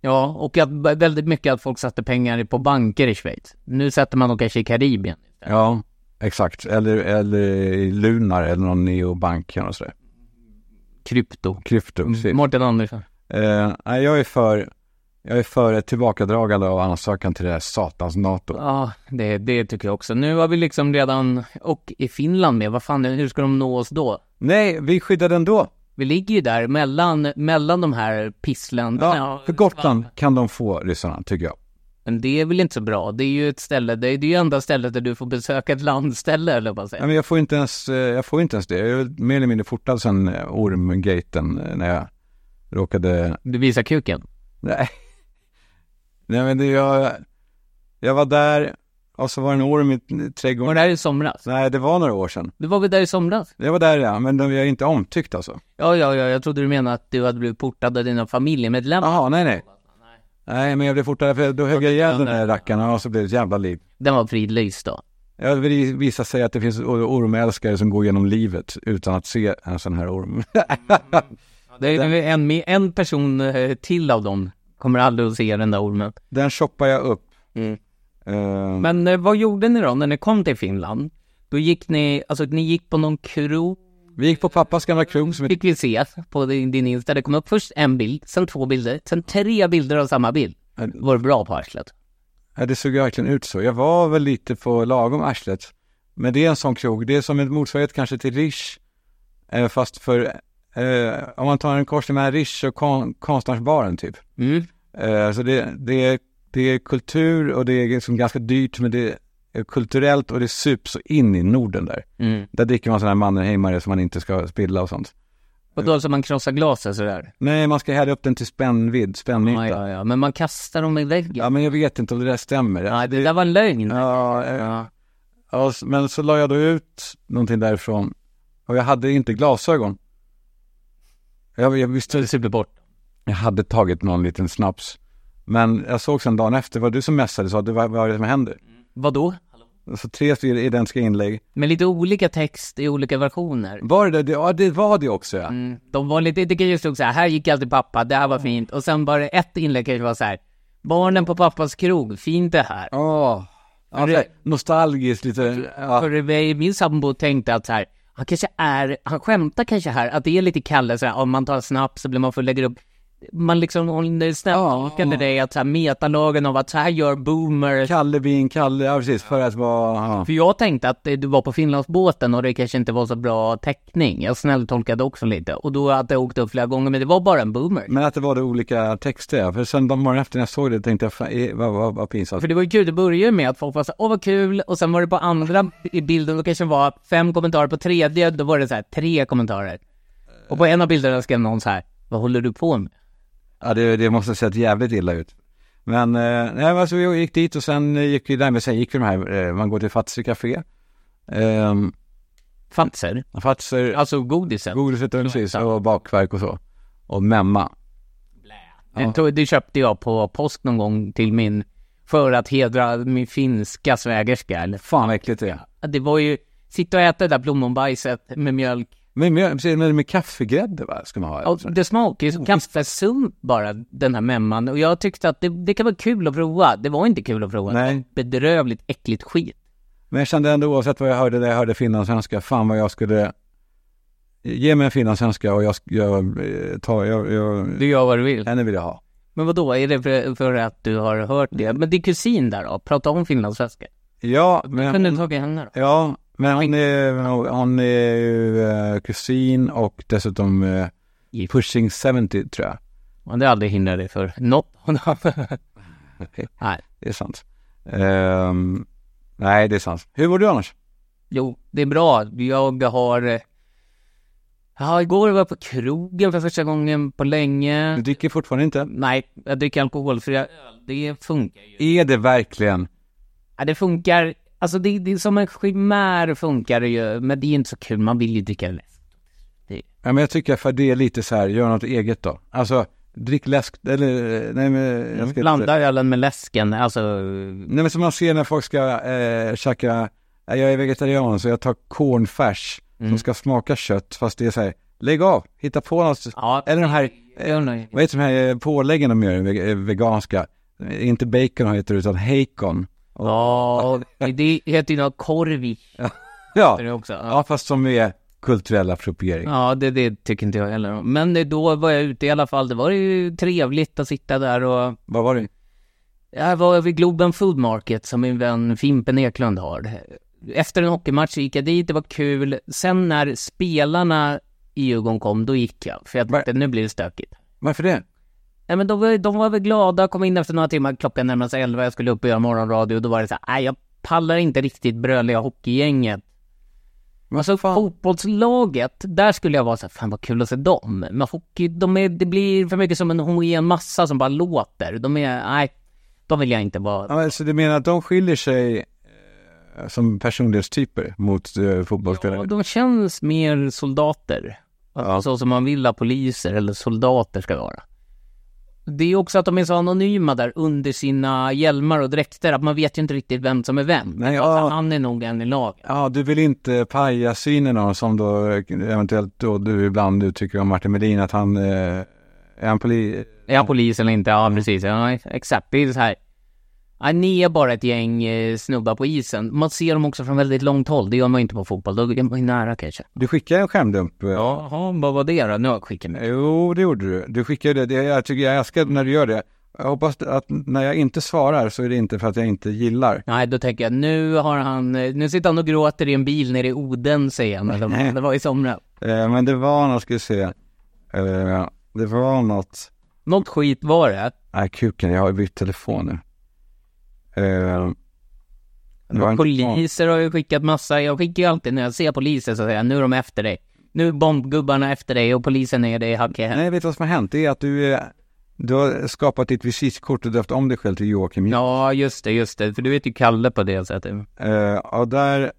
S3: Ja, och att, väldigt mycket att folk satte pengar på banker i Schweiz. Nu sätter man dem kanske i Karibien.
S2: Ja, exakt. Eller, eller i Lunar eller någon neobank eller något sådär.
S3: Krypto.
S2: Krypto. precis.
S3: Mårten Andersson.
S2: Eh, nej, jag är för... Jag är för ett tillbakadragande av ansökan till det här satans NATO.
S3: Ja, det, det tycker jag också. Nu har vi liksom redan, och i Finland med, vad fan, hur ska de nå oss då?
S2: Nej, vi skyddar den då.
S3: Vi ligger ju där mellan, mellan de här pissländerna.
S2: Ja, för Gotland kan de få ryssarna, tycker jag.
S3: Men det är väl inte så bra. Det är ju ett ställe, det är det är ju enda stället där du får besöka ett landställe, eller vad
S2: Nej,
S3: säger
S2: men jag får inte ens, eh, jag får inte ens det. Jag är väl mer eller mindre fortad sen eh, ormgaten eh, när jag råkade,
S3: Du visar kuken.
S2: nej. Nej men det, jag, jag var där och så var det en orm i eh,
S3: Var
S2: trädgården.
S3: det här i somras?
S2: Nej, det var några år sedan.
S3: Du var väl där i somras?
S2: Jag var där ja, men de- jag är inte omtyckt alltså.
S3: Ja, ja, ja, jag trodde du menade att du hade blivit portad av dina familjemedlemmar.
S2: Jaha, nej nej. Nej, men jag blev fortare för då högg jag ihjäl den där rackaren och så blev det ett jävla liv.
S3: Den var fridlyst då.
S2: Ja, Det visar sig att det finns or- ormälskare som går genom livet utan att se en sån här orm.
S3: Det är en, med en person eh, till av dem kommer aldrig att se den där ormen.
S2: den shoppar jag upp.
S3: Mm.
S2: Eh,
S3: Men eh, vad gjorde ni då när ni kom till Finland? Då gick ni, alltså ni gick på någon krog,
S2: Vi gick på pappas gamla krog som heter...
S3: fick vi se på din, din Insta. Det kom upp först en bild, sen två bilder, sen tre bilder av samma bild. Var det bra på arslet?
S2: Ja, det såg verkligen ut så. Jag var väl lite på lagom arslet. Men det är en sån krog. Det är som en motsvarighet kanske till Rish. Eh, fast för... Eh, om man tar en korsning mellan Rish och kon- konstnärsbaren typ.
S3: Mm.
S2: Eh, så det, det, är, det är kultur och det är liksom ganska dyrt men det är kulturellt och det sups så in i Norden där.
S3: Mm.
S2: Där dricker man sådana här mannerheimare som man inte ska spilla och sånt.
S3: Och då alltså man krossar glaset sådär?
S2: Nej, man ska hälla upp den till spännvidd,
S3: Ja,
S2: spännyta. ja.
S3: ja, ja. Men man kastar dem i väggen?
S2: men jag vet inte om det där stämmer.
S3: Nej, det där var en lögn.
S2: Ja, ja. ja, s- men så la jag då ut någonting därifrån och jag hade inte glasögon. Jag, jag visste,
S3: super bort.
S2: jag hade tagit någon liten snaps. Men jag såg sen dagen efter, var det du som messade och sa du, vad, vad är det som händer?
S3: Vadå?
S2: Så tre identiska inlägg.
S3: Med lite olika text i olika versioner.
S2: Var det det? Ja, det var det också ja.
S3: Mm. De var lite, det kanske stod så här, här gick jag till pappa, det här var fint. Och sen bara ett inlägg kanske var så här, barnen på pappas krog, fint det här.
S2: Åh. Ja,
S3: det-
S2: det- nostalgiskt lite. Ja.
S3: För mig- min sambo tänkte att så här, han kanske är, han skämtar kanske här, att det är lite Kalle så här, om man tar en snaps så blir man full, lägger upp man liksom, hon snälltolkade dig att så här, metalagen av att så här gör boomers.
S2: Kalle Bin, Kalle, ja precis, för att vara... Ja.
S3: För jag tänkte att eh, du var på Finlandsbåten och det kanske inte var så bra täckning. Jag snälltolkade också lite. Och då att jag åkte upp flera gånger, men det var bara en boomer.
S2: Men att det var det olika texter, ja. för sen de morgonen efter när jag såg det tänkte jag, fan, eh, vad, vad, vad pinsamt.
S3: För det var ju kul, det började ju med att folk var så här, åh vad kul, och sen var det på andra i bilden, då kanske det var fem kommentarer, på tredje då var det så här tre kommentarer. Och på en av bilderna skrev någon så här, vad håller du på med?
S2: Ja, det, det måste ha sett jävligt illa ut. Men, eh, nej, men alltså, vi gick dit och sen eh, gick vi, nej, men sen gick vi de här, eh, man går till Fazer Café. Ehm,
S3: Fatser?
S2: Fazer,
S3: Alltså godiset?
S2: godiset och precis, och bakverk och så. Och memma.
S3: Det, tog- det köpte jag på påsk någon gång till min, för att hedra min finska svägerska. eller-
S2: Fan vad äckligt det är.
S3: Det var ju, sitta och äta det där plommonbajset med mjölk.
S2: Men med, precis, men med kaffegrädde va, ska man ha.
S3: Ja, det smakar ju som kaffesump bara, den här memman. Och jag tyckte att det, det kan vara kul att prova. Det var inte kul att prova.
S2: Nej.
S3: Det var Bedrövligt äckligt skit.
S2: Men jag kände ändå oavsett vad jag hörde, när jag hörde finlandssvenska, fan vad jag skulle... Ge mig en finlandssvenska och jag, sk- jag, eh, tar, jag, jag,
S3: Du gör vad du vill.
S2: henne vill jag ha.
S3: Men vad då är det för, för att du har hört det? Men din kusin där då? Prata om finlandssvenska.
S2: Ja,
S3: Kan du
S2: men...
S3: tagit henne då?
S2: Ja, men hon är, hon är ju eh, kusin och dessutom eh,
S3: Gift.
S2: pushing 70 tror jag.
S3: Ja, det har aldrig hindrat dig för något. Nej.
S2: Det är sant. Ehm, nej, det är sant. Hur mår du annars?
S3: Jo, det är bra. Jag har... eh, Ja, igår var jag på krogen för första gången på
S2: Du
S3: länge.
S2: dricker fortfarande inte.
S3: Nej, jag dricker alkoholfria öl. Det funkar ju.
S2: Är det verkligen?
S3: Ja, det funkar. Alltså det, det är som en chimär funkar det ju, men det är inte så kul. Man vill ju dricka läsk.
S2: Ja, men jag tycker för det är lite så här, gör något eget då. Alltså, drick läsk, eller eh, nej men... Jag ska inte,
S3: Blanda ölen med läsken, alltså...
S2: nej men som man ser när folk ska eh, käka, eh, jag är vegetarian så jag tar cornfärs
S3: Mm.
S2: som ska smaka kött fast det är så här, lägg av, hitta på något.
S3: Ja,
S2: Eller den här
S3: jag undrar ju.
S2: Vad heter de här eh, påläggen de gör, veg- eh, veganska? Eh, Inte bacon har heter det, utan hejkon.
S3: Ja, det heter ju något korvi
S2: Ja,
S3: det också. Ja.
S2: ja fast som är kulturell appropriering.
S3: Ja, det, det tycker inte jag heller om. Men det- då var jag ute i alla fall. Det var ju trevligt att sitta där och...
S2: Vad var det?
S3: Jag var vid Globen Food Market som min vän Fimpen Eklund har. Efter en hockeymatch gick jag dit, det var kul. Sen när spelarna i Djurgården kom, då gick jag. För jag tänkte, nu blir det stökigt.
S2: Varför det?
S3: Nej men de, var- de var väl glada, kom in efter några timmar, klockan närmade sig elva, jag skulle upp och göra morgonradio och då var det så här, nej jag pallar inte riktigt bröliga hockeygänget.
S2: Men så fan.
S3: Fotbollslaget, där skulle jag vara så här, fan vad kul att se dem. Men hockey, de är, det blir för mycket som en homogen massa som bara låter. De är, nej, de vill jag inte vara.
S2: Ja, men så du menar att de skiljer sig eh, som personlighetstyper mot eh,
S3: Ja,
S2: fotbollsspelare?
S3: de känns mer soldater.
S2: Ja.
S3: Så som man vill att poliser eller soldater ska vara. Det är också att de är så anonyma där under sina hjälmar och dräkter att man vet ju inte riktigt vem som är vem.
S2: Nej,
S3: Alltså,
S2: ja,
S3: han är nog en i laget.
S2: ja, du vill inte paja synen av som då eh, eventuellt då du ibland uttrycker om Martin Melin att han eh, är en poli...
S3: Är han polis eller inte? Ja, precis. Ja, exakt. Det är så här. Ja, ni är bara ett gäng eh, snubbar på isen. Man ser dem också från väldigt långt håll. Det gör man ju inte på fotboll. Då är man ju nära kanske.
S2: Du skickade en skärmdump. eh,
S3: Jaha, vad var det då? Nu har jag skickat mig.
S2: Jo, det gjorde du. Du skickade det. Jag tycker jag älskar när du gör det. Jag hoppas att när jag inte svarar så är det inte för att jag inte gillar.
S3: Nej, då tänker jag nu har han, eh, nu sitter han och gråter i en bil nere i Odense igen. Eller, vad det var i somras.
S2: Eh, men det var något, ska vi se. Eh, det var något.
S3: Något skit var det.
S2: Nej, kuken, jag har ju bytt telefon nu. Eh, det var en-
S3: Poliser har ju skickat massa, jag skickar ju alltid när jag ser poliser så säger jag nu är de efter dig. Nu är bombgubbarna efter dig och polisen är dig i hacke.
S2: Nej, vet du vad som har hänt? Det är att du, eh, du har skapat ditt visitkort och döpt om dig själv till Joakim
S3: Ja, just det, just det. För du vet ju Kalle på det sättet.
S2: Eh, och där,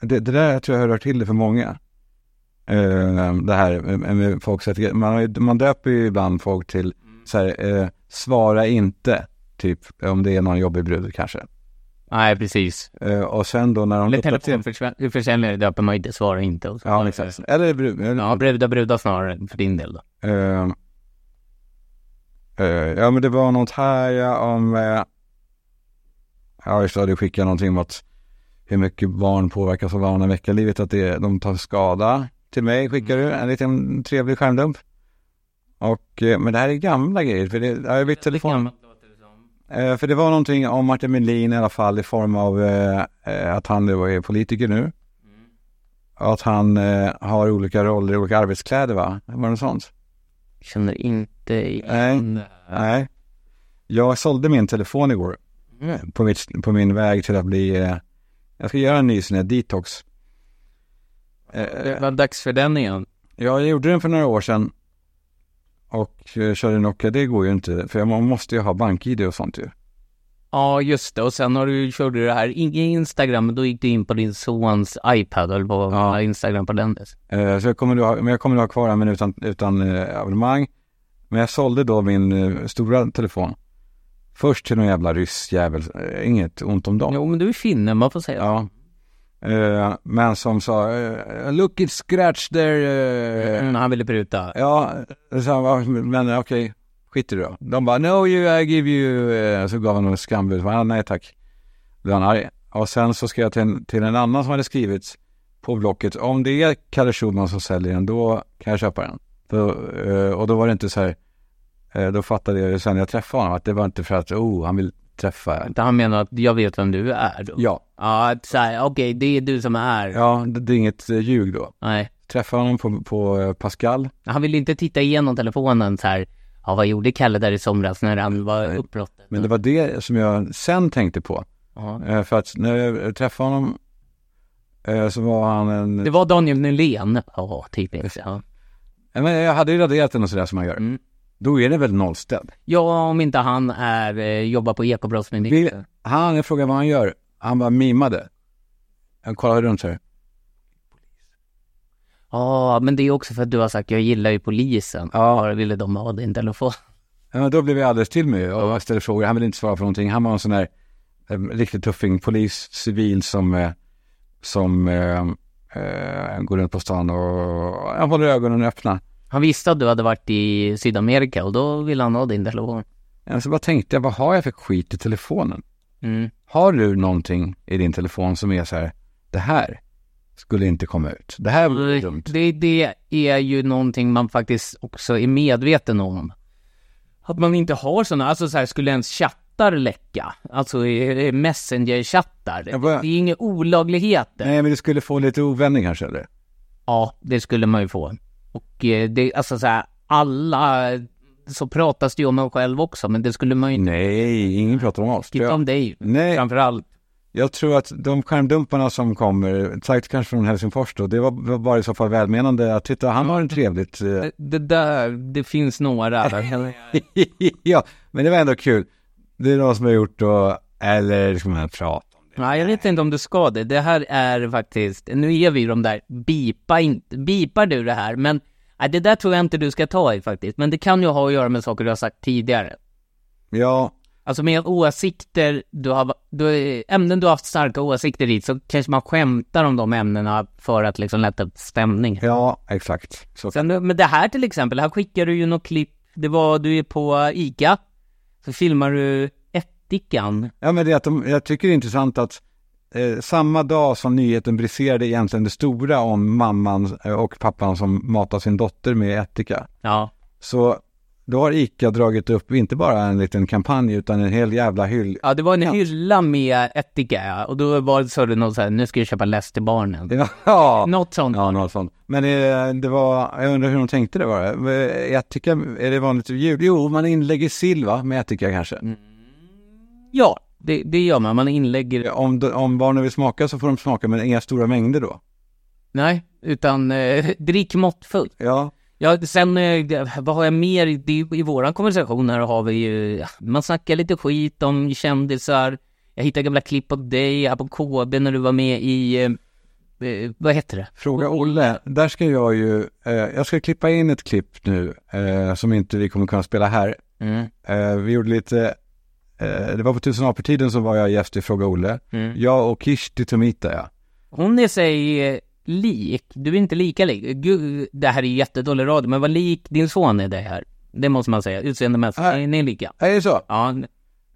S2: det, det där tror jag hör till det för många. Eh, det här eh, med folk sätter, man, har ju- man döper ju ibland folk till så här, eh, svara inte, typ om det är någon jobbig brud kanske.
S3: Nej, precis.
S2: Eh, och sen då när de
S3: Eller
S2: uppdaterar-
S3: telefonförsäljare döper man ju inte, svarar inte. Och så.
S2: Ja, exakt. Eller brud. Eller,
S3: Ja, brudar brudar snarare för din del då.
S2: eh, eh, ja, men det var något här ja, om, eh, ja just det, du skickade någonting om att hur mycket barn påverkas av vanan i veckalivet, att det, de tar skada till mig skickar du en liten trevlig skärmdump. Och, eh, men det här är gamla grejer, för det, ja, jag vet telefon, Eh, för det var någonting om Martin Melin i alla fall i form av eh, eh, att han då är politiker nu. Att han eh, har olika roller i olika arbetskläder va? Var det något sånt?
S3: Känner inte
S2: Nej.
S3: igen det.
S2: Nej. Jag sålde min telefon igår eh,
S3: Mm.
S2: på, mitt, på min väg till att bli... Eh, jag ska göra en ny sån här detox.
S3: Det
S2: Eh,
S3: var dags för den igen.
S2: jag gjorde den för några år sedan och eh, körde Nokia. Det går ju inte för man måste ju ha bank-id och sånt ju.
S3: Ja, just det. Och sen har du, körde du det här i Instagram, men då gick du in på din sons iPad, eller på
S2: Ja.
S3: Instagram på den. dess.
S2: Eh, så jag kommer, då ha, men jag kommer då ha kvar den men utan, utan eh, abonnemang. Men jag sålde då min eh, stora telefon. Först till någon jävla ryssjävel. Eh, inget ont om dem.
S3: Jo, men du är finne, man får säga.
S2: Ja. Eh, men som sa, eh, look it scratch there. eh,
S3: Mm, han ville pruta.
S2: Ja, eh, så han bara, men okej, skit i det då. De bara, no you, I give you, eh, så gav han någon skambud. Ah, nej tack. Blev han arg. Och sen så skrev jag till en, till en annan som hade skrivit på Blocket, om det är Kalle Schulman som säljer den, då kan jag köpa den. Då, eh, och då var det inte så här, eh, då fattade jag ju sen när jag träffade honom att det var inte för att, oh, han vill träffa.
S3: Inte Han menar att jag vet vem du är då.
S2: Ja,
S3: Ja, att så här, okej, det är du som är.
S2: ja det, det är inget eh, ljug då.
S3: Nej.
S2: Träffade honom på, på eh, Pascal.
S3: Han ville inte titta igenom telefonen så här. Ja, vad gjorde Kalle där i somras när han var
S2: Nej.
S3: uppbrottet?
S2: Men det var det som jag sen tänkte på.
S3: Ja.
S2: Eh, För att när jag träffade honom eh, så var han en...
S3: Det var Daniel Nylén. Ja, typiskt. Ja.
S2: Eh, Men jag hade ju raderat den och sådär som man gör.
S3: Mm.
S2: Då är det väl nollställd.
S3: ja, om inte han är, eh, jobbar på Ekobrottsmyndigheten.
S2: Han, jag frågade vad han gör. Han bara mimade. Jag kollade runt så här.
S3: Ja, men det är också för att du har sagt jag gillar ju polisen. Ja. Bara ville de ha din telefon.
S2: Ja, men då blev jag alldeles till mig och jag ställde frågor. Han ville inte svara på någonting. Han var en sån där eh, riktig tuffing, polis, civil som, eh, som eh, eh, går runt på stan och han håller ögonen öppna.
S3: Han visste att du hade varit i Sydamerika och då ville han ha din telefon.
S2: Eh, Så bara tänkte jag, vad har jag för skit i telefonen?
S3: Mm.
S2: Har du någonting i din telefon som är så här, det här skulle inte komma ut. Det här var dumt.
S3: Det, det är ju någonting man faktiskt också är medveten om. Att man inte har sådana, alltså så här, skulle ens chattar läcka? Alltså eh, messenger-chattar?
S2: Jag bara-
S3: Det är inga olagligheter.
S2: Nej, men du skulle få lite ovändning kanske eller?
S3: Ja, det skulle man ju få. Och eh, det, alltså så här, alla, så pratas det ju om en själv också, men det skulle man ju inte
S2: Nej, ingen pratar om oss.
S3: titta om dig.
S2: Nej,
S3: Framförallt.
S2: jag tror att de skärmdumparna som kommer, sagt kanske från Helsingfors då, det var var bara i så fall välmenande att titta, han har en trevligt. eh."
S3: Det- Det där, det finns några. eh, där.
S2: ja, men det var ändå kul. Det är någon som har gjort då, eller liksom, ska man prata om det?
S3: Nej, jag vet inte om du ska det. Det här är faktiskt, nu är vi de där, bipa inte, bipar du det här? Men nej, det där tror jag inte du ska ta i faktiskt. Men det kan ju ha att göra med saker du har sagt tidigare.
S2: Ja,
S3: Alltså med åsikter, du har, du, ämnen du har haft starka åsikter i, så kanske man skämtar om de ämnena för att liksom lätta upp stämning.
S2: ja, exakt. Så.
S3: Sen, men det här till exempel, här skickar du ju något klipp, det var, du är på ICA, så filmar du ättikan.
S2: Ja, men det är att de, jag tycker det är intressant att eh, samma dag som nyheten briserade egentligen det stora om mamman eh, och pappan som matar sin dotter med ättika,
S3: Ja.
S2: så då har ICA dragit upp inte bara en liten kampanj utan en hel jävla hyll.
S3: Ja, det var en
S2: Ja.
S3: hylla med ättika, ja. Och då var det, så det någon så här, nu ska jag köpa läst till barnen.
S2: Ja,
S3: Något sånt.
S2: ja något sånt. Men eh, det var, jag undrar hur de tänkte det var. Eh, Ättika, är det vanligt ljud? Jo, man inlägger sill va, med ättika kanske.
S3: Ja, det, det gör man. Man inlägger...
S2: Om, de- om barnen vill smaka så får de smaka, men inga stora mängder då.
S3: Nej, utan eh, drick måttfullt.
S2: Ja,
S3: Ja, sen, eh, det- vad har jag mer? i- Det, I våran konversation här har vi ju, ja, man snackar lite skit om kändisar. Jag hittade gamla klipp på dig här på KB när du var med i, eh, eh, vad heter det?
S2: Fråga Olle. Där ska jag ju, eh, jag ska klippa in ett klipp nu eh, som inte vi kommer kunna spela här.
S3: Mm.
S2: Eh, vi gjorde lite, eh, det var på Tusen apor-tiden så var jag gäst i Fråga Olle.
S3: Mm.
S2: Jag och Kirsti Tomita ja.
S3: Hon är sig eh, lik, du är inte lika lik. Gud, det här är jättedålig radio, men vad lik din son är det här. Det måste man säga, utseendemässigt.
S2: Nej.
S3: Ni, ni är lika.
S2: Är det så?
S3: Ja,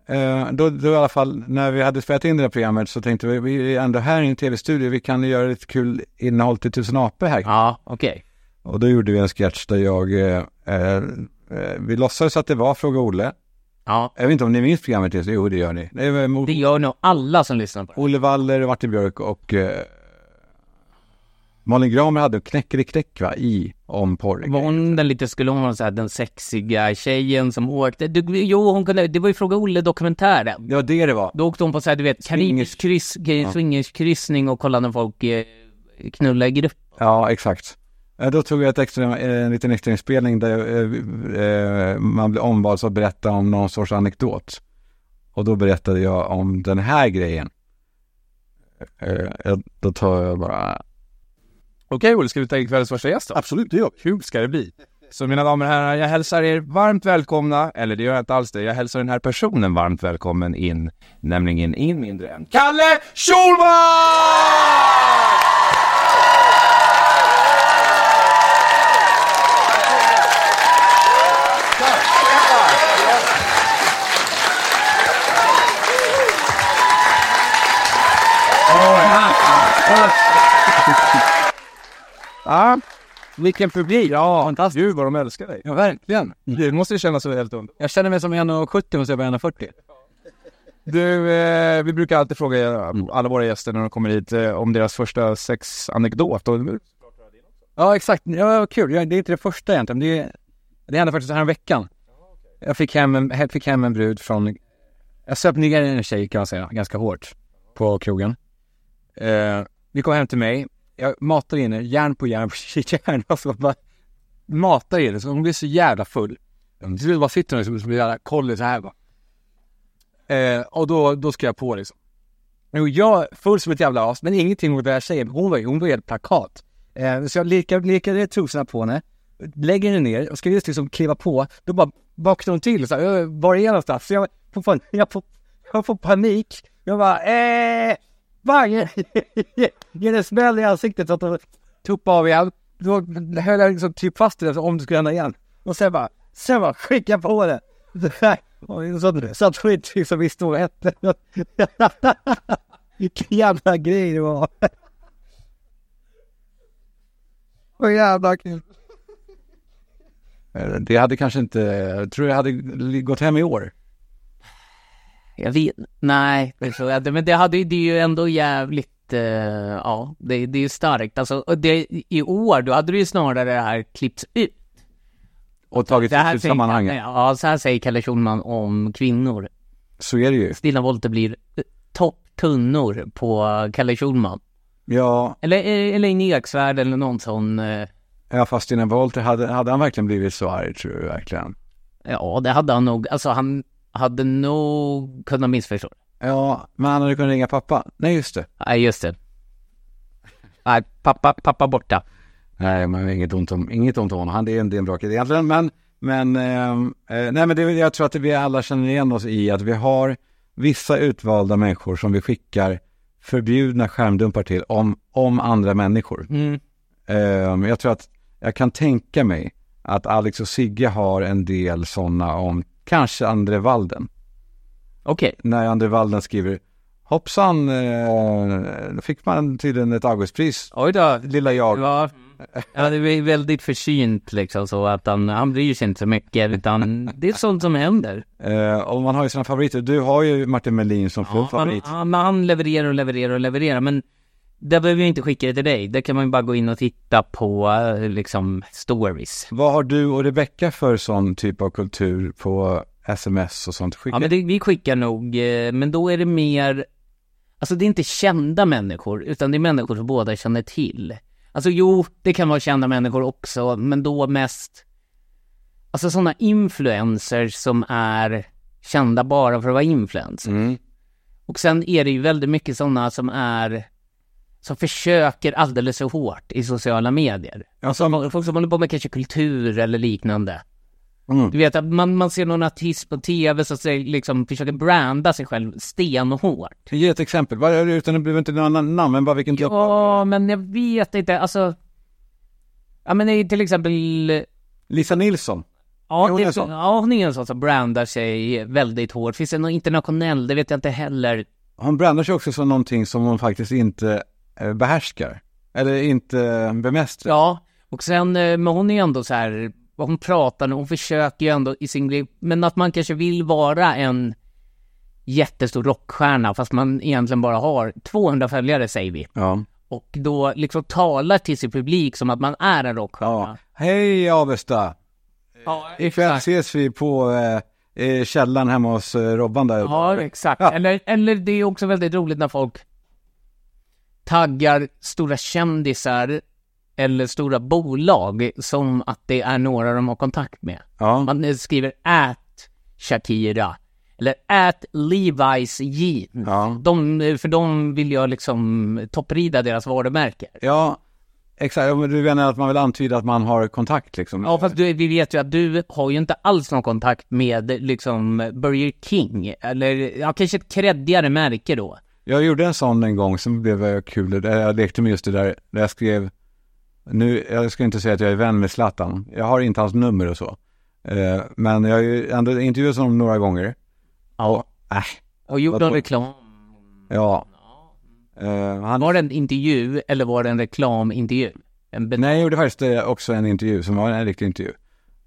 S2: Eh, då, då i alla fall, när vi hade spelat in det här programmet så tänkte vi, vi är ändå här i en tv-studio, vi kan ju göra lite kul innehåll till Tusen apor här.
S3: ja okej.
S2: Och då gjorde vi en sketch där jag, eh, eh, vi låtsades att det var Fråga Olle.
S3: Ja,
S2: Jag vet inte om ni minns programmet, just- jo det gör ni. Det var mot
S3: det gör nog alla som lyssnar på det.
S2: Olle Waller, Martin Björk och eh, Malin Gramer hade knäckeri-knäck va, i om porr.
S3: Var hon den lite, skulle hon vara så här, den sexiga tjejen som åkte? Du, jo, hon kunde, det var ju Fråga Olle-dokumentären.
S2: Det var det det var.
S3: Då åkte hon på så här, du vet, karibisk kryss, swingerskryssning och kollade när folk eh, knullade i grupp.
S2: Ja, exakt. Eh, Då tog jag ett extra, eh, en liten extrainspelning där eh, eh, man blev ombald att berätta om någon sorts anekdot. Och då berättade jag om den här grejen. Eh, eh, Då tar jag bara...
S4: Okej Olle, ska vi ta in kvällens första gäst då? Absolut, det gör vi. Kul ska det bli. Så mina damer och herrar, jag hälsar er varmt välkomna, eller det gör jag inte alls det, jag hälsar den här personen varmt välkommen in, nämligen in mindre än Kalle Schulman! Ja, vilken publik! Ja, fantastiskt! Gud vad de älskar dig! Ja, verkligen! Det måste ju kännas så helt underbart.
S1: Jag känner mig som 1,70 och så är jag bara 1,40.
S4: Du, eh, vi brukar alltid fråga alla våra gäster när de kommer hit eh, om deras första sexanekdot. Och,
S1: Ja, exakt. Ja, vad kul. Ja, Det är inte det första egentligen. Det, är- det hände faktiskt här veckan. Jag fick hem, en, jag fick hem en brud från... Jag söp ner en tjej kan man säga, ganska hårt. På krogen. Eh, vi kom hem till mig. Jag matar in henne, järn på järn på järn. Alltså bara matar in henne. Så hon blir så jävla full. Till slut bara sitter hon liksom som en jävla kolli så här bara. Eh, och då, då ska jag på liksom. Jo, jag full som ett jävla as, men ingenting mot den här tjejen. Hon var, hon var helt plakat. Eh, så jag lekade, lekade trosorna på henne, lägger henne ner och ska just liksom kliva på. Då bara vaknar hon till så här, "Ö, var är jag någonstans? Så jag, får fan, jag, får, jag får panik. Jag bara, eh, bang! Ger ger en smäll i ansiktet så att hon tuppade av igen. Då höll jag liksom typ fast henne om det skulle hända igen. Och sen bara, sen bara skickade jag på henne. Och Så att- så att hon inte liksom visste vad hon hette. Vilken jävla grej det var! Vad jävla kul!
S2: eh, Det hade kanske inte, jag tror jag hade li- gått hem i år.
S3: Jag vet Nej, det tror jag inte. Men det, hade, ju- det är ju ändå jävligt, eh, ja, det, det är ju starkt. Alltså, och det, i år, då hade du ju snarare det här klippts ut.
S2: Och tagit
S3: Det här
S2: ut
S3: säger-
S2: sammanhanget.
S3: Ja, så här säger Kalle Schulman om kvinnor.
S2: Så är det ju.
S3: Stina Wollter blir eh, topptunnor på Kalle Schulman.
S2: Ja,
S3: Eller eh, Elaine Eksvärd eller någon sån. eh,
S2: ja fast innan Walter, hade, hade han verkligen blivit så arg tror jag verkligen.
S3: Ja, det hade han nog. Alltså han hade nog kunnat missförstå det.
S2: Ja, men han hade kunnat ringa pappa. Nej, just det.
S3: Nej, just det. Nej, pappa, pappa borta.
S2: Nej, men inget ont om, inget ont om honom. Han det är en, det är en bra kille egentligen. Men, men, ehm, eh, nej, men det, jag tror att vi alla känner igen oss i att vi har vissa utvalda människor som vi skickar förbjudna skärmdumpar till om, om andra människor.
S3: Mm.
S2: Ehm, jag tror att jag kan tänka mig att Alex och Sigge har en del sådana om kanske Andre Walden.
S3: Okej.
S2: när André Walden skriver Hoppsan, eh, då fick man tydligen ett Augustpris,
S3: Oj då.
S2: lilla jag.
S3: Ja, ja, det är väldigt försynt liksom så att han, han bryr sig inte så mycket utan det är sånt som händer.
S2: Eh, och man har ju sina favoriter. Du har ju Martin Melin som
S3: Ja, man,
S2: favorit.
S3: han, han levererar och levererar och levererar men där behöver jag inte skicka det till dig. Där kan man ju bara gå in och titta på eh, liksom stories.
S2: Vad har du och Rebecca för sån typ av kultur på sms och sånt? Skicka.
S3: Ja men det, vi skickar nog, eh, men då är det mer Alltså det är inte kända människor, utan det är människor som båda känner till Alltså jo, det kan vara kända människor också, men då mest Alltså sådana influencers som är kända bara för att vara influencers
S2: Mm.
S3: Och sen är det ju väldigt mycket sådana som är Som försöker alldeles för hårt i sociala medier
S2: Alltså,
S3: Folk som håller på med kanske kultur eller liknande
S2: mm.
S3: du vet att man, man ser någon artist på tv som säger, liksom försöker branda sig själv stenhårt.
S2: Ge ett exempel, Vad är det, utan att behöver inte några namn, men bara vilken typ- grupp.
S3: Ja, men jag vet inte, alltså. Ja men det är till exempel
S2: Lisa Nilsson.
S3: Ja,
S2: Jo,
S3: det,
S2: det är så.
S3: ja, hon är en sån som brandar sig väldigt hårt. Finns det någon internationell? Det vet jag inte heller.
S2: Hon brandar sig också som någonting som hon faktiskt inte eh, behärskar. Eller inte bemästrar.
S3: Ja, Och sen, eh, men hon är ändå så här, hon pratar, hon försöker ju ändå i sin grej, men att man kanske vill vara en jättestor rockstjärna fast man egentligen bara har 200 följare säger vi.
S2: Ja.
S3: Och då liksom talar till sin publik som att man är en
S2: ja.
S3: rockstjärna.
S2: Hej Avesta!
S3: Ja,
S2: Ikväll ses vi på eh, eh, källaren hemma hos eh, Robban där uppe.
S3: Ja, exakt.
S2: Ja.
S3: Eller, eller det är också väldigt roligt när folk taggar stora kändisar eller stora bolag som att det är några de har kontakt med.
S2: Ja.
S3: Man eh, skriver ät Shakira eller ät Levi's jeans.
S2: Ja.
S3: De, eh, för de vill jag liksom topprida deras varumärken.
S2: ja, exakt. Ja, men Du menar att man vill antyda att man har kontakt liksom?
S3: Ja, fast du, vi vet ju att du har ju inte alls någon kontakt med liksom Burger King eller ja, kanske ett kreddigare märke då.
S2: Jag gjorde en sån en gång som blev jag kul. Där Jag lekte med just det där, där jag skrev, nu, jag ska inte säga att jag är vän med Zlatan. Jag har inte hans nummer och så. Eh, men jag har ju ändå intervjuat honom några gånger.
S3: Ja.
S2: Äh,
S3: Och gjort
S2: Vad
S3: någon
S2: på-
S3: reklam.
S2: ja. Eh, han,
S3: Var det en intervju eller var det en reklamintervju? En ben-
S2: nej, jag gjorde faktiskt eh, också en intervju som var en riktig intervju.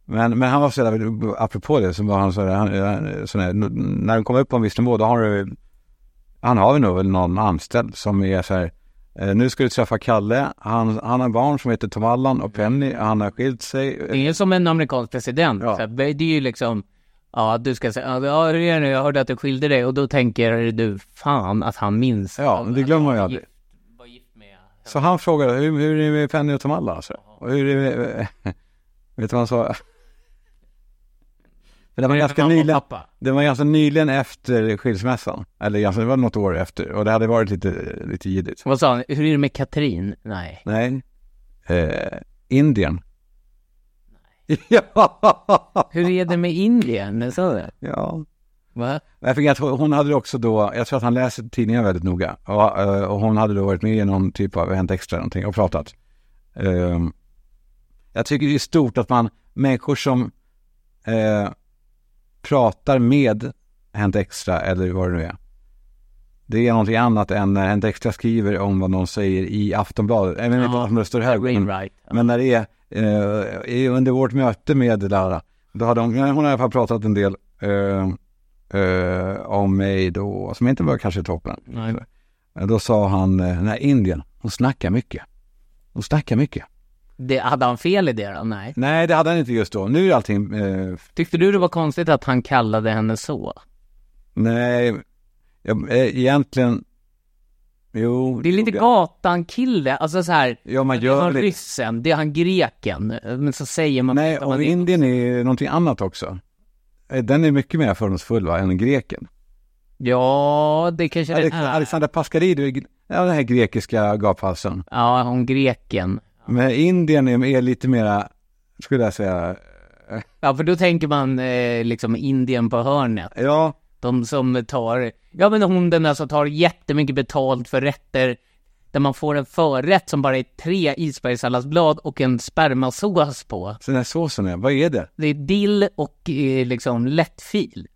S2: Men, men han var så jävla, apropå det, så var han så där, han, eh, sån här, när de kommer upp på en viss nivå, då har du, han har ju nog väl någon anställd som är så här, eh, nu ska du träffa Kalle, han, han har barn som heter Tom Allan och Penny, han har skilt sig. Eh,
S3: Det är som en amerikansk president.
S2: Ja.
S3: Så här, det är ju liksom, ja du ska säga, ja hur är det nu? jag hörde att du skilde dig och då tänker du, fan att han minns.
S2: Ja, men det glömmer man ju aldrig.
S3: Var gift med.
S2: Så han frågade, hur, hur är det med Penny och Tom Allan? Så, och hur är det med, vet du vad han sa? För det var ganska
S3: Mamma och
S2: nyligen.
S3: pappa.
S2: Det var ganska nyligen efter skilsmässan. Eller ganska, det var något år efter. Och det hade varit lite, lite jiddigt.
S3: Vad sa han? Hur är det med Katrin? Nej.
S2: Nej. Eh, Indien. Ja.
S3: Hur är det med Indien? Sa du?
S2: ja.
S3: Va?
S2: Men Jag fick att hon hon hade ju också då, jag tror att han läser tidningen väldigt noga. Och, eh, och hon hade då varit med i någon typ av Hänt Extra någonting och pratat. Ehm, jag tycker det är stort att man, människor som eh, pratar med Hänt Extra eller vad det nu är. Det är någonting annat än när Hänt Extra skriver om vad någon säger i Aftonbladet. Även
S3: Ja.
S2: inte om det står här. men-
S3: Wainwright.
S2: men när det är eh, i- under vårt möte med Lara, då hade hon, hon har i alla fall pratat en del eh, eh, om mig då, som inte var kanske toppen.
S3: Nej.
S2: Men Då sa han, eh, den här Indien, hon snackar mycket. Hon snackar mycket.
S3: Det, hade han fel i det då? Nej.
S2: Nej, det hade han inte just då. Nu är allting, eh,
S3: Tyckte du det var konstigt att han kallade henne så?
S2: nej, jag, eh, egentligen, jo.
S3: Det är lite
S2: gjorde jag.
S3: gatan-kille, alltså så här.
S2: Ja, man
S3: Det är
S2: gör
S3: han
S2: lite.
S3: ryssen, det är han greken. Men så säger man...
S2: Nej,
S3: man
S2: och Indien är någonting annat också. Eh, Den är mycket mer fördomsfull va, än greken.
S3: Ja, det kanske det
S2: Alex-
S3: är.
S2: Alexandra Pascalidou, är gre- ja, den här grekiska gaphalsen.
S3: Ja, hon greken.
S2: Men Indien är, är lite mera, skulle jag säga,
S3: Ja, för då tänker man eh, liksom Indien på hörnet.
S2: ja,
S3: De som tar... Ja, men hon den där som tar jättemycket betalt för rätter där man får en förrätt som bara är tre isbergssalladsblad och en spermasås på.
S2: så den här såsen är, vad är det?
S3: Det är dill och eh, liksom lättfil.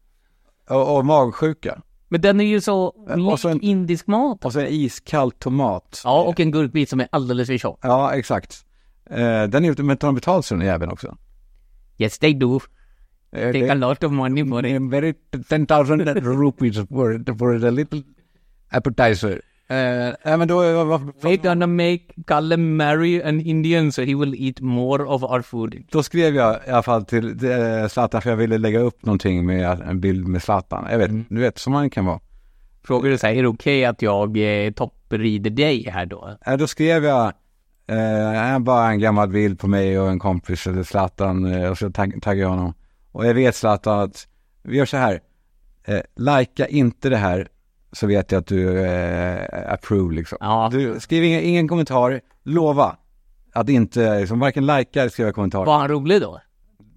S2: Och, och magsjuka.
S3: Men den är ju så
S2: Eh, och
S3: lik
S2: så en-
S3: indisk mat.
S2: Och så en iskall tomat.
S3: Ja, och en gurkbit som är alldeles för tjock.
S2: Ja, exakt. Eh, den är ju, men tar de betalt så den jäveln också?
S3: Yes, they do.
S2: Eh,
S3: Take a lot of money for it.
S2: är very 10,000 rupees for, for a little appetizer. Eh, nej, men då, varför-
S3: We're gonna make Kalle marry an Indian so he will eat more of our food.
S2: Då skrev jag i alla fall till eh, Zlatan för jag ville lägga upp någonting med en bild med Zlatan. Jag vet,
S3: Mm.
S2: du vet som man kan vara.
S3: Frågar du så här, är det okej att jag eh, topprider dig här då?
S2: Eh, då skrev jag eh, här bara en gammal bild på mig och en kompis eller Zlatan eh, och så tag- taggade jag honom. Och jag vet Zlatan att vi gör så här. Eh, Lajka inte det här så vet jag att du eh, approve liksom.
S3: Ja.
S2: Du, skriv ingen, ingen kommentar, lova att inte, liksom, varken lajka eller skriva kommentarer.
S3: Var han rolig då?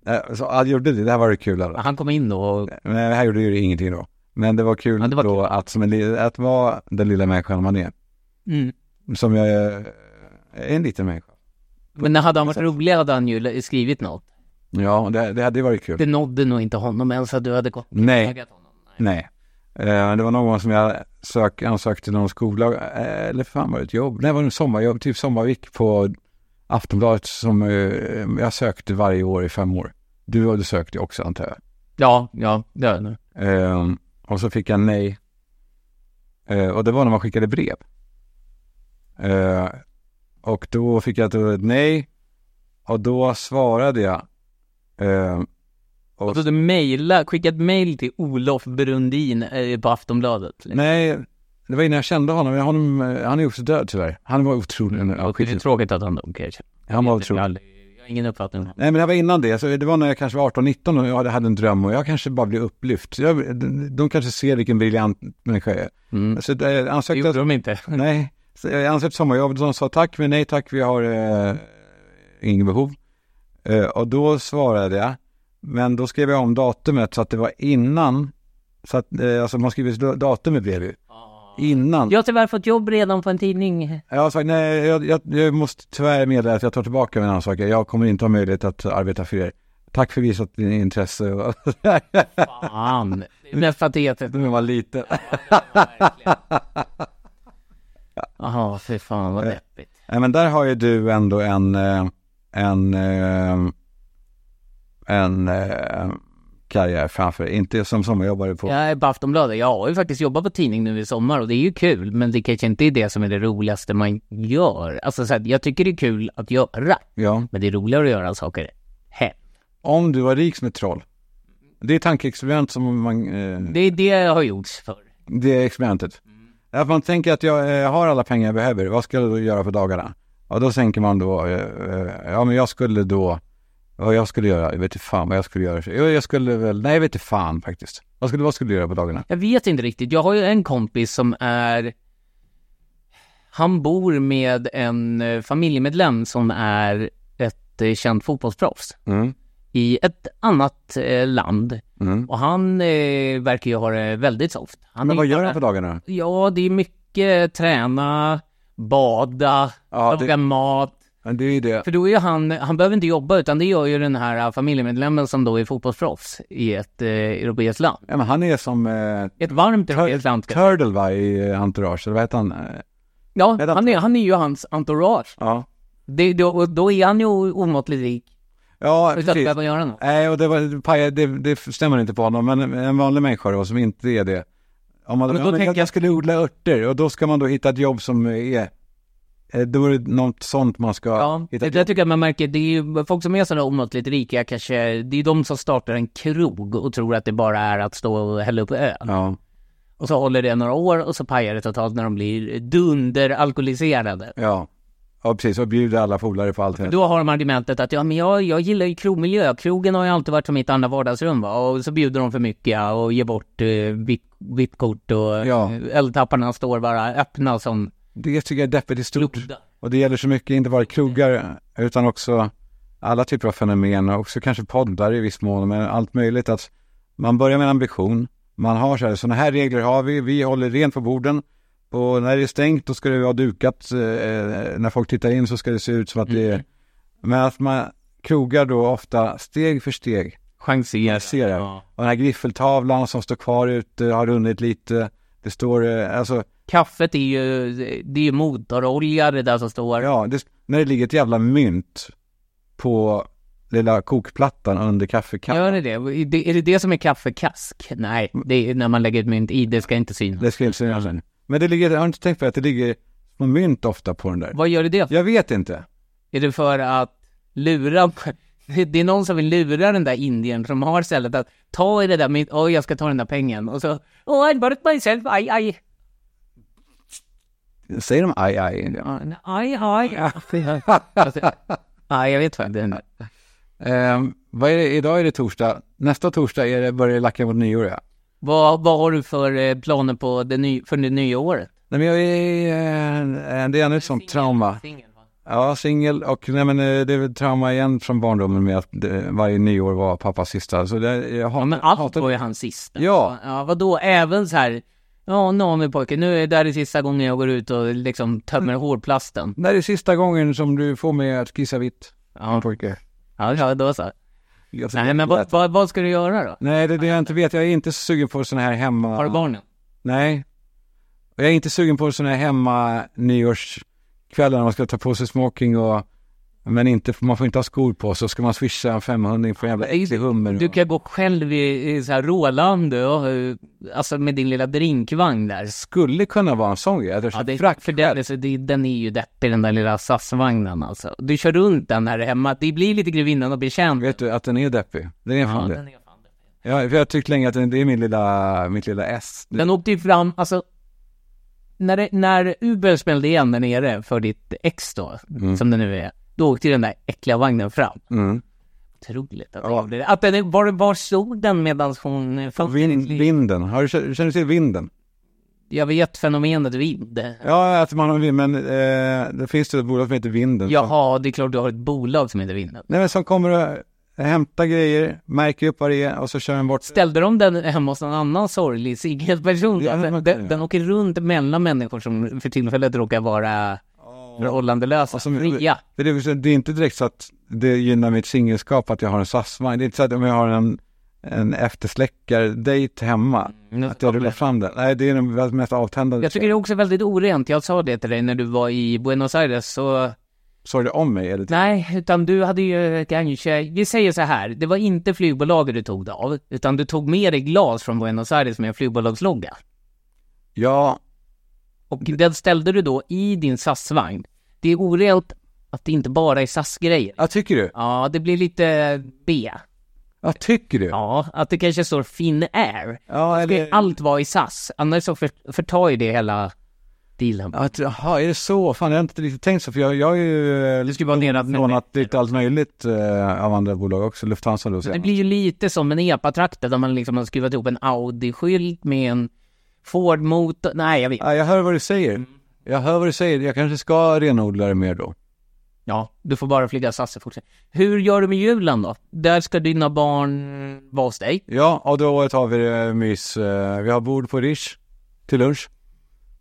S2: Eh, så han gjorde det, det här var det kul. Alla.
S3: Han kom in då och...
S2: Men det här gjorde ju ingenting då. Men det var kul
S3: Ja, det var
S2: då
S3: kul.
S2: Att, som en, li- att vara den lilla människan man är.
S3: Mm.
S2: Som jag är, är en liten människa.
S3: Men när hade han varit rolig hade han ju le- skrivit något.
S2: Ja, det, det hade ju varit kul.
S3: Det nådde nog inte honom ens att du hade gått
S2: Nej,
S3: taggat honom.
S2: nej. Eh, det var någon gång som jag sök, ansökte till någon skola, eh, eller fan var det ett jobb? Nej, det var det en sommarjobb, typ sommarvik på Aftonbladet som eh, jag sökte varje år i fem år. Du har du sökt det också antar jag.
S3: Ja, ja, det är det.
S2: Ehm, och så fick jag nej. Eh, och det var när man skickade brev. Eh, och då fick jag ett ett nej. Och då svarade jag. Eh,
S3: Och så du mejla, skicka ett mejl till Olof Brundin eh, på Aftonbladet. liksom.
S2: nej, det var innan jag kände honom. Jag, honom eh, han är ju också död tyvärr. Han var otrolig. Mm,
S3: och det är tråkigt att han dog kanske.
S2: han var
S3: Jag har
S2: otrolig.
S3: aldrig- jag har ingen uppfattning om honom.
S2: Nej men det var innan det, så det var när jag kanske var 18-19 och jag hade- hade en dröm och jag kanske bara blev upplyft. Så Jag, de, de kanske ser vilken briljant människa jag är.
S3: Mm.
S2: Så jag
S3: Det gjorde
S2: ansökte,
S3: de inte.
S2: nej, så jag ansökte sommarjobb, de sa tack men nej tack, vi har eh, inget behov. Eh, och då svarade jag, men då skrev jag om datumet så att det var innan, så att eh, alltså man skriver da- datum i brev ju.
S3: Ah.
S2: Innan.
S3: Jag har tyvärr fått jobb redan på en tidning.
S2: Jag har sagt nej, jag, jag, jag måste tyvärr meddela att jag tar tillbaka min ansökan. Jag kommer inte ha möjlighet att arbeta för er. Tack för visat intresse. och-
S3: Fan. Det är mest patetiskt.
S2: När man var liten.
S3: Jaha, fy fan vad deppigt.
S2: Nej, men där har ju du ändå en, eh, en, eh, en eh, karriär framför dig. Inte som sommarjobbare på...
S3: Jag är på Aftonbladet. Jag har ju faktiskt jobbat på tidning nu i sommar och det är ju kul. Men det kanske inte är det som är det roligaste man gör. Alltså så här, jag tycker det är kul att göra.
S2: Ja.
S3: Men det är roligare att göra saker hem.
S2: Om du var rik som ett troll. Det är tankeexperiment som man... Eh,
S3: Det är det jag har gjort förr.
S2: Det är experimentet. Att man tänker att jag eh, har alla pengar jag behöver, vad ska jag då göra på dagarna? Och då tänker man då, eh, eh, ja men jag skulle då, vad jag skulle göra, jag vet inte fan vad jag skulle göra. Jag, jag skulle väl, nej jag vet inte fan faktiskt. Vad skulle, vad skulle jag göra på dagarna?
S3: Jag vet inte riktigt. Jag har ju en kompis som är... Han bor med en eh, familjemedlem som är ett eh, känt fotbollsproffs
S2: Mm.
S3: i ett annat eh, land.
S2: Mm.
S3: Och han eh, verkar ju ha det väldigt soft. Han
S2: Men
S3: är-
S2: vad gör han på dagarna?
S3: Ja, det är mycket träna, bada,
S2: Ja, det-
S3: laga mat.
S2: Ja, Det är ju det.
S3: För då är ju han, han behöver inte jobba utan det gör ju den här eh, familjemedlemmen som då är fotbollsproffs i ett eh, europeiskt land.
S2: Ja, men han är som eh,
S3: Ett varmt europeiskt land. ska-
S2: Turtle va, i eh, Entourage, eller vad heter han? Eh,
S3: Ja,
S2: Vänta.
S3: han är, han är ju hans entourage.
S2: Ja.
S3: Det, då, och då är han ju omåttligt rik.
S2: Ja,
S3: Utan att
S2: precis.
S3: behöva göra något.
S2: Nej, och det, var, det, pajade- det, det stämmer inte på honom, men en vanlig människa då som inte är det. Om man,
S3: Men då
S2: ja, men
S3: tänker
S2: jag, jag skulle odla örter och då ska man då hitta ett jobb som är, eh, då är det något sånt man ska
S3: Ja,
S2: hitta.
S3: det där tycker jag man märker. Det är ju folk som är sådana omåttligt rika kanske, det är de som startar en krog och tror att det bara är att stå och hälla upp öl.
S2: Ja,
S3: Och så håller det några år och så pajar det totalt när de blir dunderalkoholiserade.
S2: ja. ja, precis. Och bjuda alla polare på allt.
S3: Då har de argumentet att ja, men jag, jag gillar ju krogmiljö. Krogen har ju alltid varit som mitt andra vardagsrum va. Och så bjuder de för mycket ja, och ger bort eh, VIP- VIP-kort och
S2: Ja.
S3: ja. eldtapparna står bara öppna som
S2: Det tycker jag är deppigt i stort.
S3: blodar.
S2: Och det gäller så mycket, inte bara krogar, utan också alla typer av fenomen och också kanske poddar i viss mån, men allt möjligt. Att man börjar med en ambition, man har så här, sådana här regler har vi, vi håller rent på borden. Och när det är stängt då ska det vara dukat, eh, när folk tittar in så ska det se ut som att det är... Men att man krogar då ofta steg för steg.
S3: Chanserar.
S2: Ser jag. Och den här griffeltavlan som står kvar ute har runnit lite. Det står, eh, alltså,
S3: Kaffet är ju, det är ju motorolja det där som står.
S2: Ja, det, när det ligger ett jävla mynt på lilla kokplattan under kaffekannan.
S3: Gör det det? Det- Är det det som är kaffekask? Nej, det är när man lägger ett mynt i, det ska inte synas.
S2: Det ska jag säga sen. Men det ligger, har du inte tänkt på att det ligger små mynt ofta på den där?
S3: Vad gör det det för?
S2: Jag vet inte.
S3: Är det för att lura? Det är någon som vill lura den där indien som har stället att ta i det där mynt, oj jag ska ta den där pengen och så, oh I bought myself, aj aj.
S2: Säger de aj, aj? Ja.
S3: Aj aj. Alltså, Nej, jag vet faktiskt inte.
S2: Ehm, vad är det? Idag är det torsdag. Nästa torsdag är det, börjar det lacka mot nyår, ja.
S3: Vad, vad har du för eh, planer på det ny, för det nya året?
S2: Nej, men jag är... eh, Det är ännu ett sånt trauma. Ja, singel och nej men eh, det är väl trauma igen från barndomen med att eh, varje nyår var pappas sista. Så det, jag hatar,
S3: Ja, men allt
S2: hatar-
S3: var ju hans sista.
S2: Ja.
S3: Ja, vadå, även så här, ja, Nami pojke, nu är det här det sista gången jag går ut och liksom tömmer hårplasten.
S2: När är sista gången som du får mig att kissa vitt?
S3: Ja,
S2: Pojke.
S3: ja, ja då så.
S2: Jag tycker-
S3: Nej, men vad, vad, vad ska du göra då?
S2: Nej, det är det jag inte vet. Jag är inte så sugen på sådana här hemma...
S3: Har du barnen?
S2: Nej. Och Jag är inte sugen på sådana här hemma nyårskvällar när man ska ta på sig smoking och Men inte, man får inte ha skor på sig. Ska man swisha en 500 för en jävla äcklig hummer?
S3: Du kan gå själv i, i så här Rålande och, eh, alltså med din lilla drinkvagn där.
S2: skulle kunna vara en sån grej. Att jag
S3: Ja,
S2: kör
S3: det,
S2: frack
S3: för den,
S2: själv.
S3: alltså, det, den är ju deppig den där lilla SAS-vagnen alltså. Du kör runt den här hemma, det blir lite grevinnan och betjänt.
S2: Vet du att den är deppig? Den är fan det.
S3: den, är fan deppig.
S2: Ja, för jag har tyckt länge att den, det är min lilla, mitt lilla S.
S3: den åkte ju fram, alltså när, det, när Uber smällde igen där nere för ditt ex då, som det nu är, då åkte ju den där äckliga vagnen fram.
S2: Mm.
S3: Otroligt att, ja. det, att den, var, var stod den medan hon eh, föll?
S2: Vind, vinden. Har du, känner du till vinden?
S3: Jag vet fenomenet vind.
S2: Ja, att man har vind, men eh, det finns ju ett bolag som heter Vinden. Som,
S3: Jaha, det är klart du har ett bolag som heter Vinden.
S2: nej, men som kommer och hämtar grejer, märker upp vad det är och så kör den bort.
S3: Ställde de den hemma hos någon annan sorglig singelperson?
S2: Ja, men
S3: Den,
S2: man kan
S3: den,
S2: ju.
S3: den åker runt mellan människor som för tillfället råkar vara förhållandelösa,
S2: Och som-
S3: fria.
S2: Det är, liksom, det är inte direkt så att det gynnar mitt singelskap att jag har en SAS-vagn. Det är inte så att om jag har en, en eftersläckardejt hemma,
S3: Mm,
S2: att jag rullar fram den. Nej, det är den mest avtändande.
S3: Jag tycker det är också väldigt orent. Jag sa det till dig när du var i Buenos Aires, så
S2: Sorg det om mig? Eller?
S3: nej, utan du hade ju kanske, vi säger så här, det var inte flygbolaget du tog det av, utan du tog med dig glas från Buenos Aires med en flygbolagslogga.
S2: Ja,
S3: Och den ställde du då i din SAS-vagn. Det är orent att det inte bara är SAS-grejer.
S2: jag tycker du?
S3: Ja, det blir lite B.
S2: Jag tycker du?
S3: Ja, att det kanske står Finnair.
S2: Ja,
S3: Det ska allt vara i SAS, annars så för, förtar ju det hela dealen.
S2: Att, jaha, är det så? Fan, jag har inte riktigt tänkt så, för jag, jag har ju eh,
S3: Det skulle vara nedat
S2: lånat lite allt möjligt eh, av andra bolag också. Lufthansa då
S3: Det
S2: senast.
S3: blir ju lite som en epa-traktor där man liksom har skruvat ihop en Audi-skylt med en Ford-motor. Nej, jag vet.
S2: Ja, jag hör vad du
S3: Mm.
S2: säger. Jag hör vad du säger. Jag kanske ska renodla det mer då.
S3: Ja, du får bara flyga SAS i fortsättningen. Hur gör du med julen då? Där ska dina barn vara hos dig.
S2: Ja, och då tar vi det mys. eh, Vi har bord på Rish till lunch.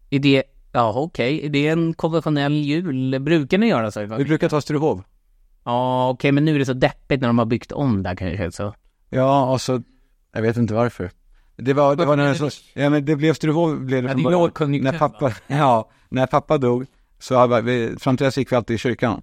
S3: Är det, ja okej, är det en konventionell jul? Brukar ni göra så?
S2: Vi brukar ta Sturehof.
S3: Ja, okej, men nu är det så deppigt när de har byggt om där kanske. Så.
S2: Ja, och så... Jag vet inte varför. Det var, det var när så, ja, men det blev Sturehof blev det
S3: Ja, det är
S2: början.
S3: lågkonjunktur,
S2: När pappa, ja, när pappa dog så hade vi, fram till dess gick vi alltid i kyrkan.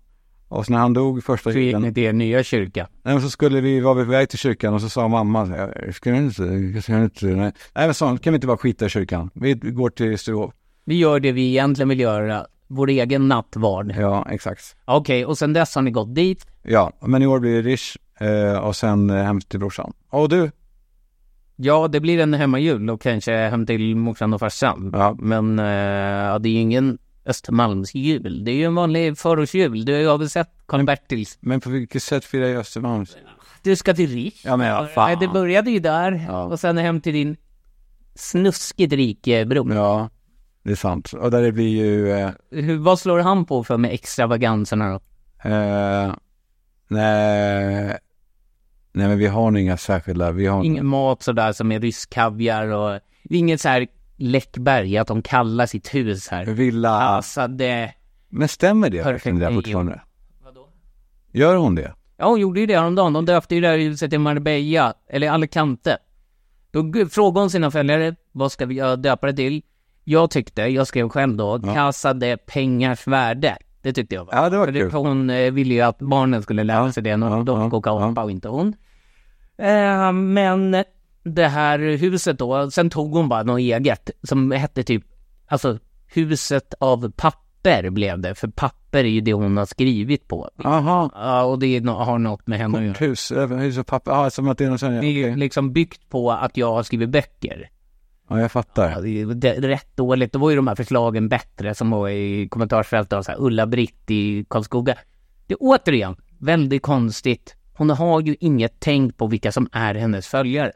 S2: Och så när han dog första
S3: Så gick
S2: julen
S3: ni till er nya kyrka.
S2: Nej, men så skulle vi, var vi på väg till kyrkan och så sa mamma, så här, ska du inte, ska du inte, nej. nej men sånt kan vi inte bara skita i kyrkan. Vi går till Sturehof.
S3: Vi gör det vi egentligen vill göra, vår egen nattvard.
S2: Ja, exakt.
S3: Okej, och sen dess har ni gått dit.
S2: Ja, men i år blir det Rish eh, och sen eh, hem till brorsan. Och du?
S3: Ja, det blir en hemmajul och kanske hem till morsan och farsan.
S2: Ja.
S3: Men eh, ja, det är ju ingen Östermalmsjul. Det är ju en vanlig förortsjul. Du har väl sett Karl-Bertils?
S2: Men på vilket sätt firar jag Östermalms?
S3: Du ska till Rik.
S2: Ja, men ja,
S3: Nej, det
S2: fan.
S3: började ju där
S2: Ja.
S3: och sen hem till din snuskigt rike bror.
S2: Ja, det är sant. Och där det blir ju, eh,
S3: Hur- Vad slår han på för med extravaganserna då?
S2: eh, nej, nej men vi har nog inga särskilda, vi har
S3: Ingen mat sådär som är rysk kaviar och det är inget så här Läckberg, att de kallar sitt hus här.
S2: villa.
S3: Alltså det...
S2: Men stämmer det
S3: Perfekt
S2: verkligen det där
S3: nio.
S2: fortfarande? Gör hon det?
S3: Ja, hon gjorde ju det häromdagen. De döpte ju det här huset till Marbella, eller Alicante. Då gu- frågade hon sina följare, vad ska vi göra- döpa det till? Jag tyckte, jag skrev själv då, Casa de Pengars Värde. Det tyckte jag var
S2: Ja, det var
S3: För
S2: kul.
S3: för Hon eh, ville ju att barnen skulle lära sig det, och
S2: ja,
S3: de fick
S2: ja,
S3: åka
S2: ja.
S3: apa och inte hon. Eh, men det här huset då, sen tog hon bara något eget som hette typ, alltså huset av papper blev det, för papper är ju det hon har skrivit på.
S2: Aha.
S3: Ja, och det är nå- har något med henne att göra.
S2: Hus, eh, hus och papper, ja som att det är någon sån,
S3: Det är ju liksom byggt på att jag har skrivit böcker.
S2: ja jag
S3: Ja,
S2: fattar.
S3: det är d- rätt dåligt. Då var ju de här förslagen bättre som var i kommentarsfältet av så här Ulla-Britt i Karlskoga. Det är återigen väldigt konstigt. Hon har ju inget tänkt på vilka som är hennes följare.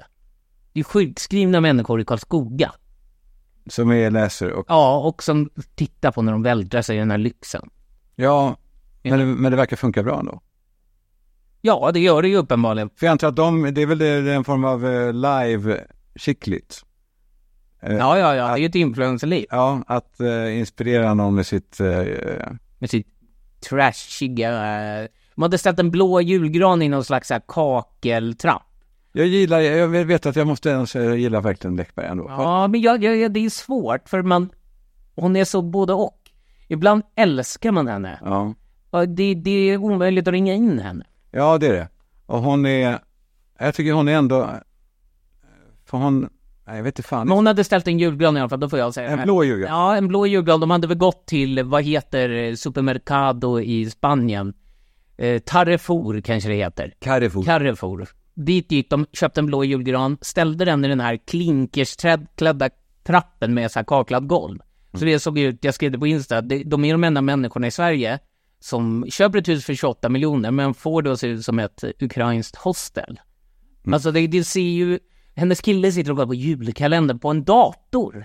S3: Det är sjukskrivna människor i Karlskoga.
S2: Som är läser och,
S3: Ja, och som tittar på när de vältrar sig i den här lyxen.
S2: ja, men, det- men det verkar funka bra ändå.
S3: Ja, det gör det ju uppenbarligen.
S2: För jag antar att de, det är väl det, det är en form av eh, live kittligt.
S3: Ja, ja, ja, det är ju ett influencerliv
S2: Ja, att eh, inspirera någon med sitt, eh,
S3: med sitt trashiga... eh, De hade ställt en blå julgran i någon slags så här kakeltrapp.
S2: jag gillar, jag vet att jag måste ändå säga, jag gillar verkligen Läckberg ändå.
S3: Ja, men jag, jag, jag, det är svårt för man... Hon är så både och. Ibland älskar man henne.
S2: Ja.
S3: Ja, Det, det är omöjligt att ringa in henne.
S2: Ja, det är det. Och hon är, jag tycker hon är ändå, för hon, nej jag vet inte fan.
S3: Men hon hade ställt en julgran i alla fall, då får jag säga det.
S2: En blå julgran.
S3: Ja, en blå julgran. De hade väl gått till, vad heter eh, Supermercado i Spanien? Eh, Tarrefour kanske det heter.
S2: Carrefour.
S3: Carrefour. Dit gick de, köpte en blå julgran, ställde den i den här klinkersklädda trappen med så här kaklat golv. Så
S2: Mm.
S3: det såg ut, jag skrev det på Insta, det- de är de enda människorna i Sverige som köper ett hus för 28 miljoner men får det att se ut som ett ukrainskt hostel.
S2: Mm.
S3: Alltså det, det ser ju, hennes kille sitter och kollar på julkalendern på en dator.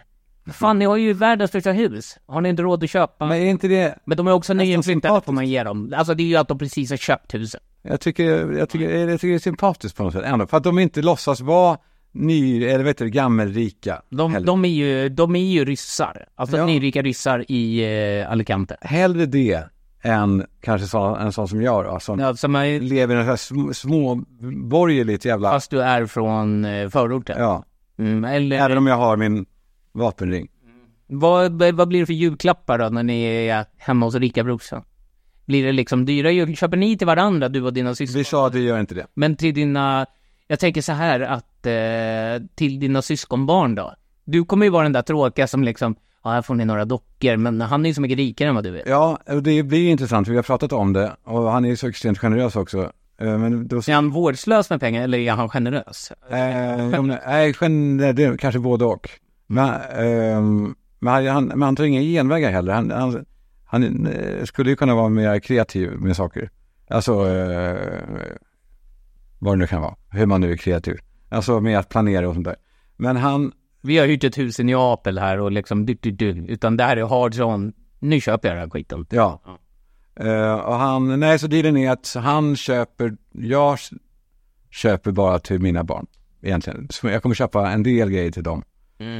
S3: Fan, ni har ju världens största hus. Har ni inte råd att köpa?
S2: Men är inte det,
S3: Men de är också nyinflyttade
S2: sympatiskt.
S3: får man ge dem. Alltså det är ju att de precis har köpt huset.
S2: jag tycker, jag tycker, jag tycker det är sympatiskt på något sätt ändå. För att de inte låtsas vara ny, eller vet du, gammelrika.
S3: De,
S2: heller.
S3: de, är ju, de är ju ryssar. Alltså
S2: Ja.
S3: nyrika ryssar i eh, Alicante.
S2: Hellre det än kanske så, en sån som jag då, som
S3: Ja, som är,
S2: lever i en sån här små, småborgerligt jävla,
S3: fast du är från eh, förorten.
S2: ja.
S3: Mm, eller
S2: Även om jag har min vapenring.
S3: vad, vad blir det för julklappar då när ni är hemma hos rika brorsan? Blir det liksom dyra jul? Köper ni till varandra, du och dina syskon?
S2: Vi sa att vi gör inte det.
S3: Men till dina, jag tänker så här att eh, till dina syskonbarn då. Du kommer ju vara den där tråkiga som liksom, ja här får ni några dockor, men han är ju så mycket rikare än vad du är.
S2: Ja, och det blir intressant. Vi har pratat om det och han är ju så extremt generös också. Eh, Men då...
S3: Är han vårdslös med pengar eller är han generös?
S2: Eh, jo, men- Nej, gen- nej, det är kanske både och. Men, ehm, men, han- han, men han tar inga genvägar heller. Han, han, han eh, skulle ju kunna vara mer kreativ med saker. Alltså, eh, vad det nu kan vara. Hur man nu är kreativ. Alltså med att planera och sånt där. Men han,
S3: Vi har hyrt ett hus i Neapel här och liksom du, du, du, utan det här är hard on. Nu köper jag den här skiten.
S2: Ja. Eh, och han, nej så dealen är att han köper, jag s- köper bara till mina barn egentligen. Så jag kommer köpa en del grejer till dem.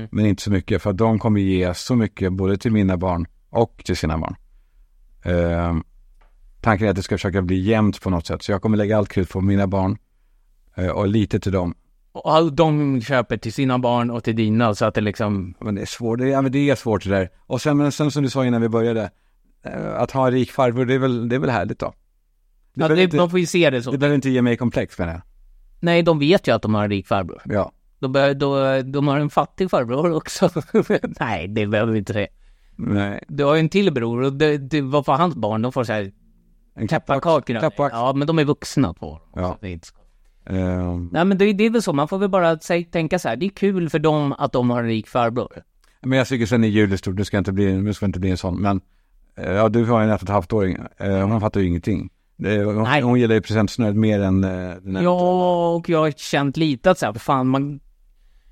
S2: Men inte så mycket för att de kommer ge så mycket både till mina barn och till sina barn. Eh, tanken är att det ska försöka bli jämnt på något sätt. Så jag kommer lägga allt krut på mina barn eh, och lite till dem.
S3: Och de köper till sina barn och till dina så att det liksom,
S2: Men det är svårt, det är, ja, men det är svårt det där. Och sen, men sen som du sa innan vi började, eh, att ha en rik farbror det är väl, det är väl härligt då. Det
S3: ja,
S2: behöver
S3: det,
S2: inte-
S3: man får ju se det så.
S2: Det behöver inte ge mig komplex menar jag.
S3: Nej, de vet ju att de har en rik farbror.
S2: Ja.
S3: De, bör, då, de har en fattig farbror också. Nej, det behöver vi inte säga.
S2: Nej.
S3: Du har ju en till bror och det, det, vad får hans barn? De får så här
S2: En
S3: pepparkakor.
S2: Klappvax.
S3: Ja, men de är vuxna på dem.
S2: Ja.
S3: Så det är inte så-
S2: Ehm,
S3: Nej, men det, det är väl så. Man får väl bara säg, tänka så här. Det är kul för dem att de har en rik farbror.
S2: men jag tycker sen i jul är stort, nu ska jag inte bli, nu ska jag inte bli en sån. Men eh, ja, du har ju en ett och ett halvt åring. Eh, hon fattar ju ingenting. Eh, hon,
S3: Nej.
S2: hon gillar ju presentsnöret mer än eh, den här.
S3: Ja, och jag har känt lite att så här, fan man...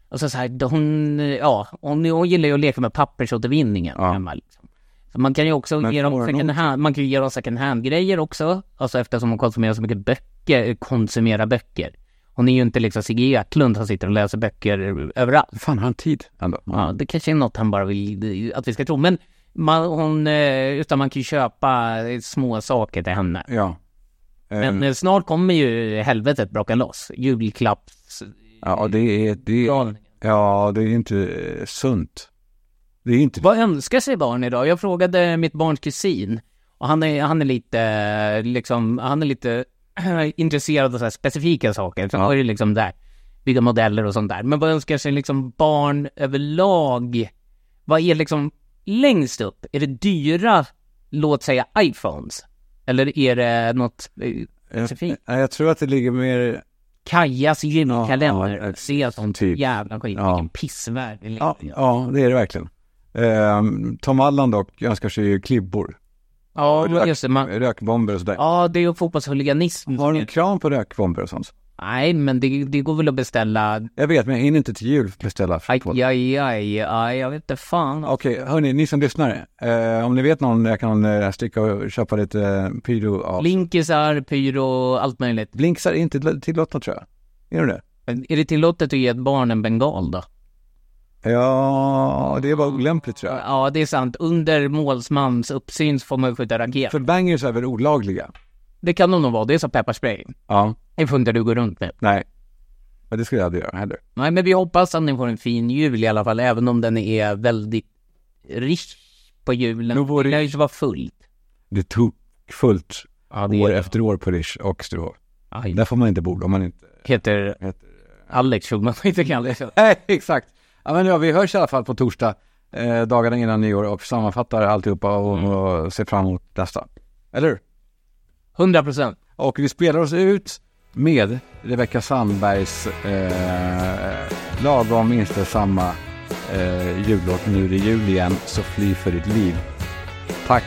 S3: Alltså så här, hon, ja, hon, hon gillar ju att leka med pappersåtervinningen
S2: Ja.
S3: hemma liksom. Så man kan ju också
S2: Men
S3: ge
S2: får
S3: dem
S2: hon
S3: second hand, man kan ju ge dem second hand-grejer också. Alltså eftersom hon konsumerar så mycket böcker, konsumera böcker. Hon är ju inte liksom Sigge Eklund som sitter och läser böcker överallt.
S2: Fan, har han tid ändå?
S3: Ja, det kanske är något han bara vill att vi ska tro. Men man, hon, eh, utan man kan ju köpa eh, små saker till henne.
S2: Ja. Eh,
S3: Men eh, snart kommer ju helvetet braka loss. Julklapps...
S2: ja, och det är, det är, ja, det är inte eh, sunt. Det är inte
S3: Vad önskar sig barn idag? Jag frågade mitt barns kusin. Och han är, han är lite, eh, liksom, han är lite intresserad av så här specifika saker. Så är det liksom där, bygga modeller och sånt där. Men vad önskar sig liksom barn överlag? Vad är liksom längst upp? Är det dyra, låt säga iPhones? Eller är det något eh, specifikt?
S2: Ja, jag tror att det ligger mer,
S3: Kajas
S2: Ja, ja,
S3: gymkalender.
S2: ja,
S3: och Se sånt
S2: typ.
S3: jävla skit.
S2: Ja.
S3: Vilken pissvärld vi lever
S2: ja,
S3: i.
S2: ja det är det verkligen. Ehm, Tom Allan dock önskar sig ju klibbor,
S3: Ja, men just det. Man,
S2: rökbomber och sådär.
S3: ja, det är ju fotbollshuliganism.
S2: Har de kran på rökbomber och sånt?
S3: Nej, men det, det går väl att beställa.
S2: Jag vet, men jag hinner inte till jul beställa
S3: Aj,
S2: fotboll.
S3: aj, aj, aj, aj jag vet inte fan.
S2: Okej, hörni, ni som lyssnar. Eh, om ni vet någon jag kan eh, sticka och köpa lite eh, pyro av.
S3: Blinkisar, pyro, allt möjligt.
S2: Blinks är inte till- tillåtna tror jag. Är de det?
S3: Men Är det tillåtet att ge ett barn en bengal då?
S2: Ja, det var olämpligt tror jag.
S3: Ja, det är sant. Under målsmans uppsyn så får man ju skjuta raket.
S2: För bangers är väl olagliga?
S3: Det kan de nog vara. Det är som pepparspray.
S2: Ja,
S3: Det får inte du gå runt med.
S2: nej. Men det skulle jag aldrig göra heller.
S3: Nej, men vi hoppas att ni får en fin jul i alla fall, även om den är väldigt rik på julen.
S2: Nog vore-
S3: Det lär ju inte vara fullt.
S2: Det tog fullt
S3: Ja, det
S2: år
S3: är,
S2: efter år på Rish och Sturehof.
S3: aj,
S2: Där får man inte bo om man inte...
S3: heter
S2: Heter-
S3: Alex Schulman, inte Kalle.
S2: Nej, exakt. Ja, men ja, vi hörs i alla fall på torsdag, eh, dagarna innan nyår och sammanfattar alltihopa och, och ser fram emot nästa. Eller hur?
S3: 100 procent.
S2: Och vi spelar oss ut med Rebecca Sandbergs eh, lagom inte samma eh, jullåt. Nu är det jul igen, så fly för ditt liv. Tack!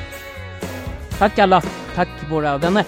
S3: Tack alla. Tack våra vänner.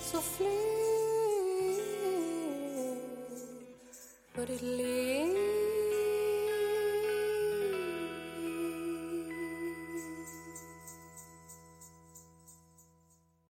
S5: Så fly för ditt liv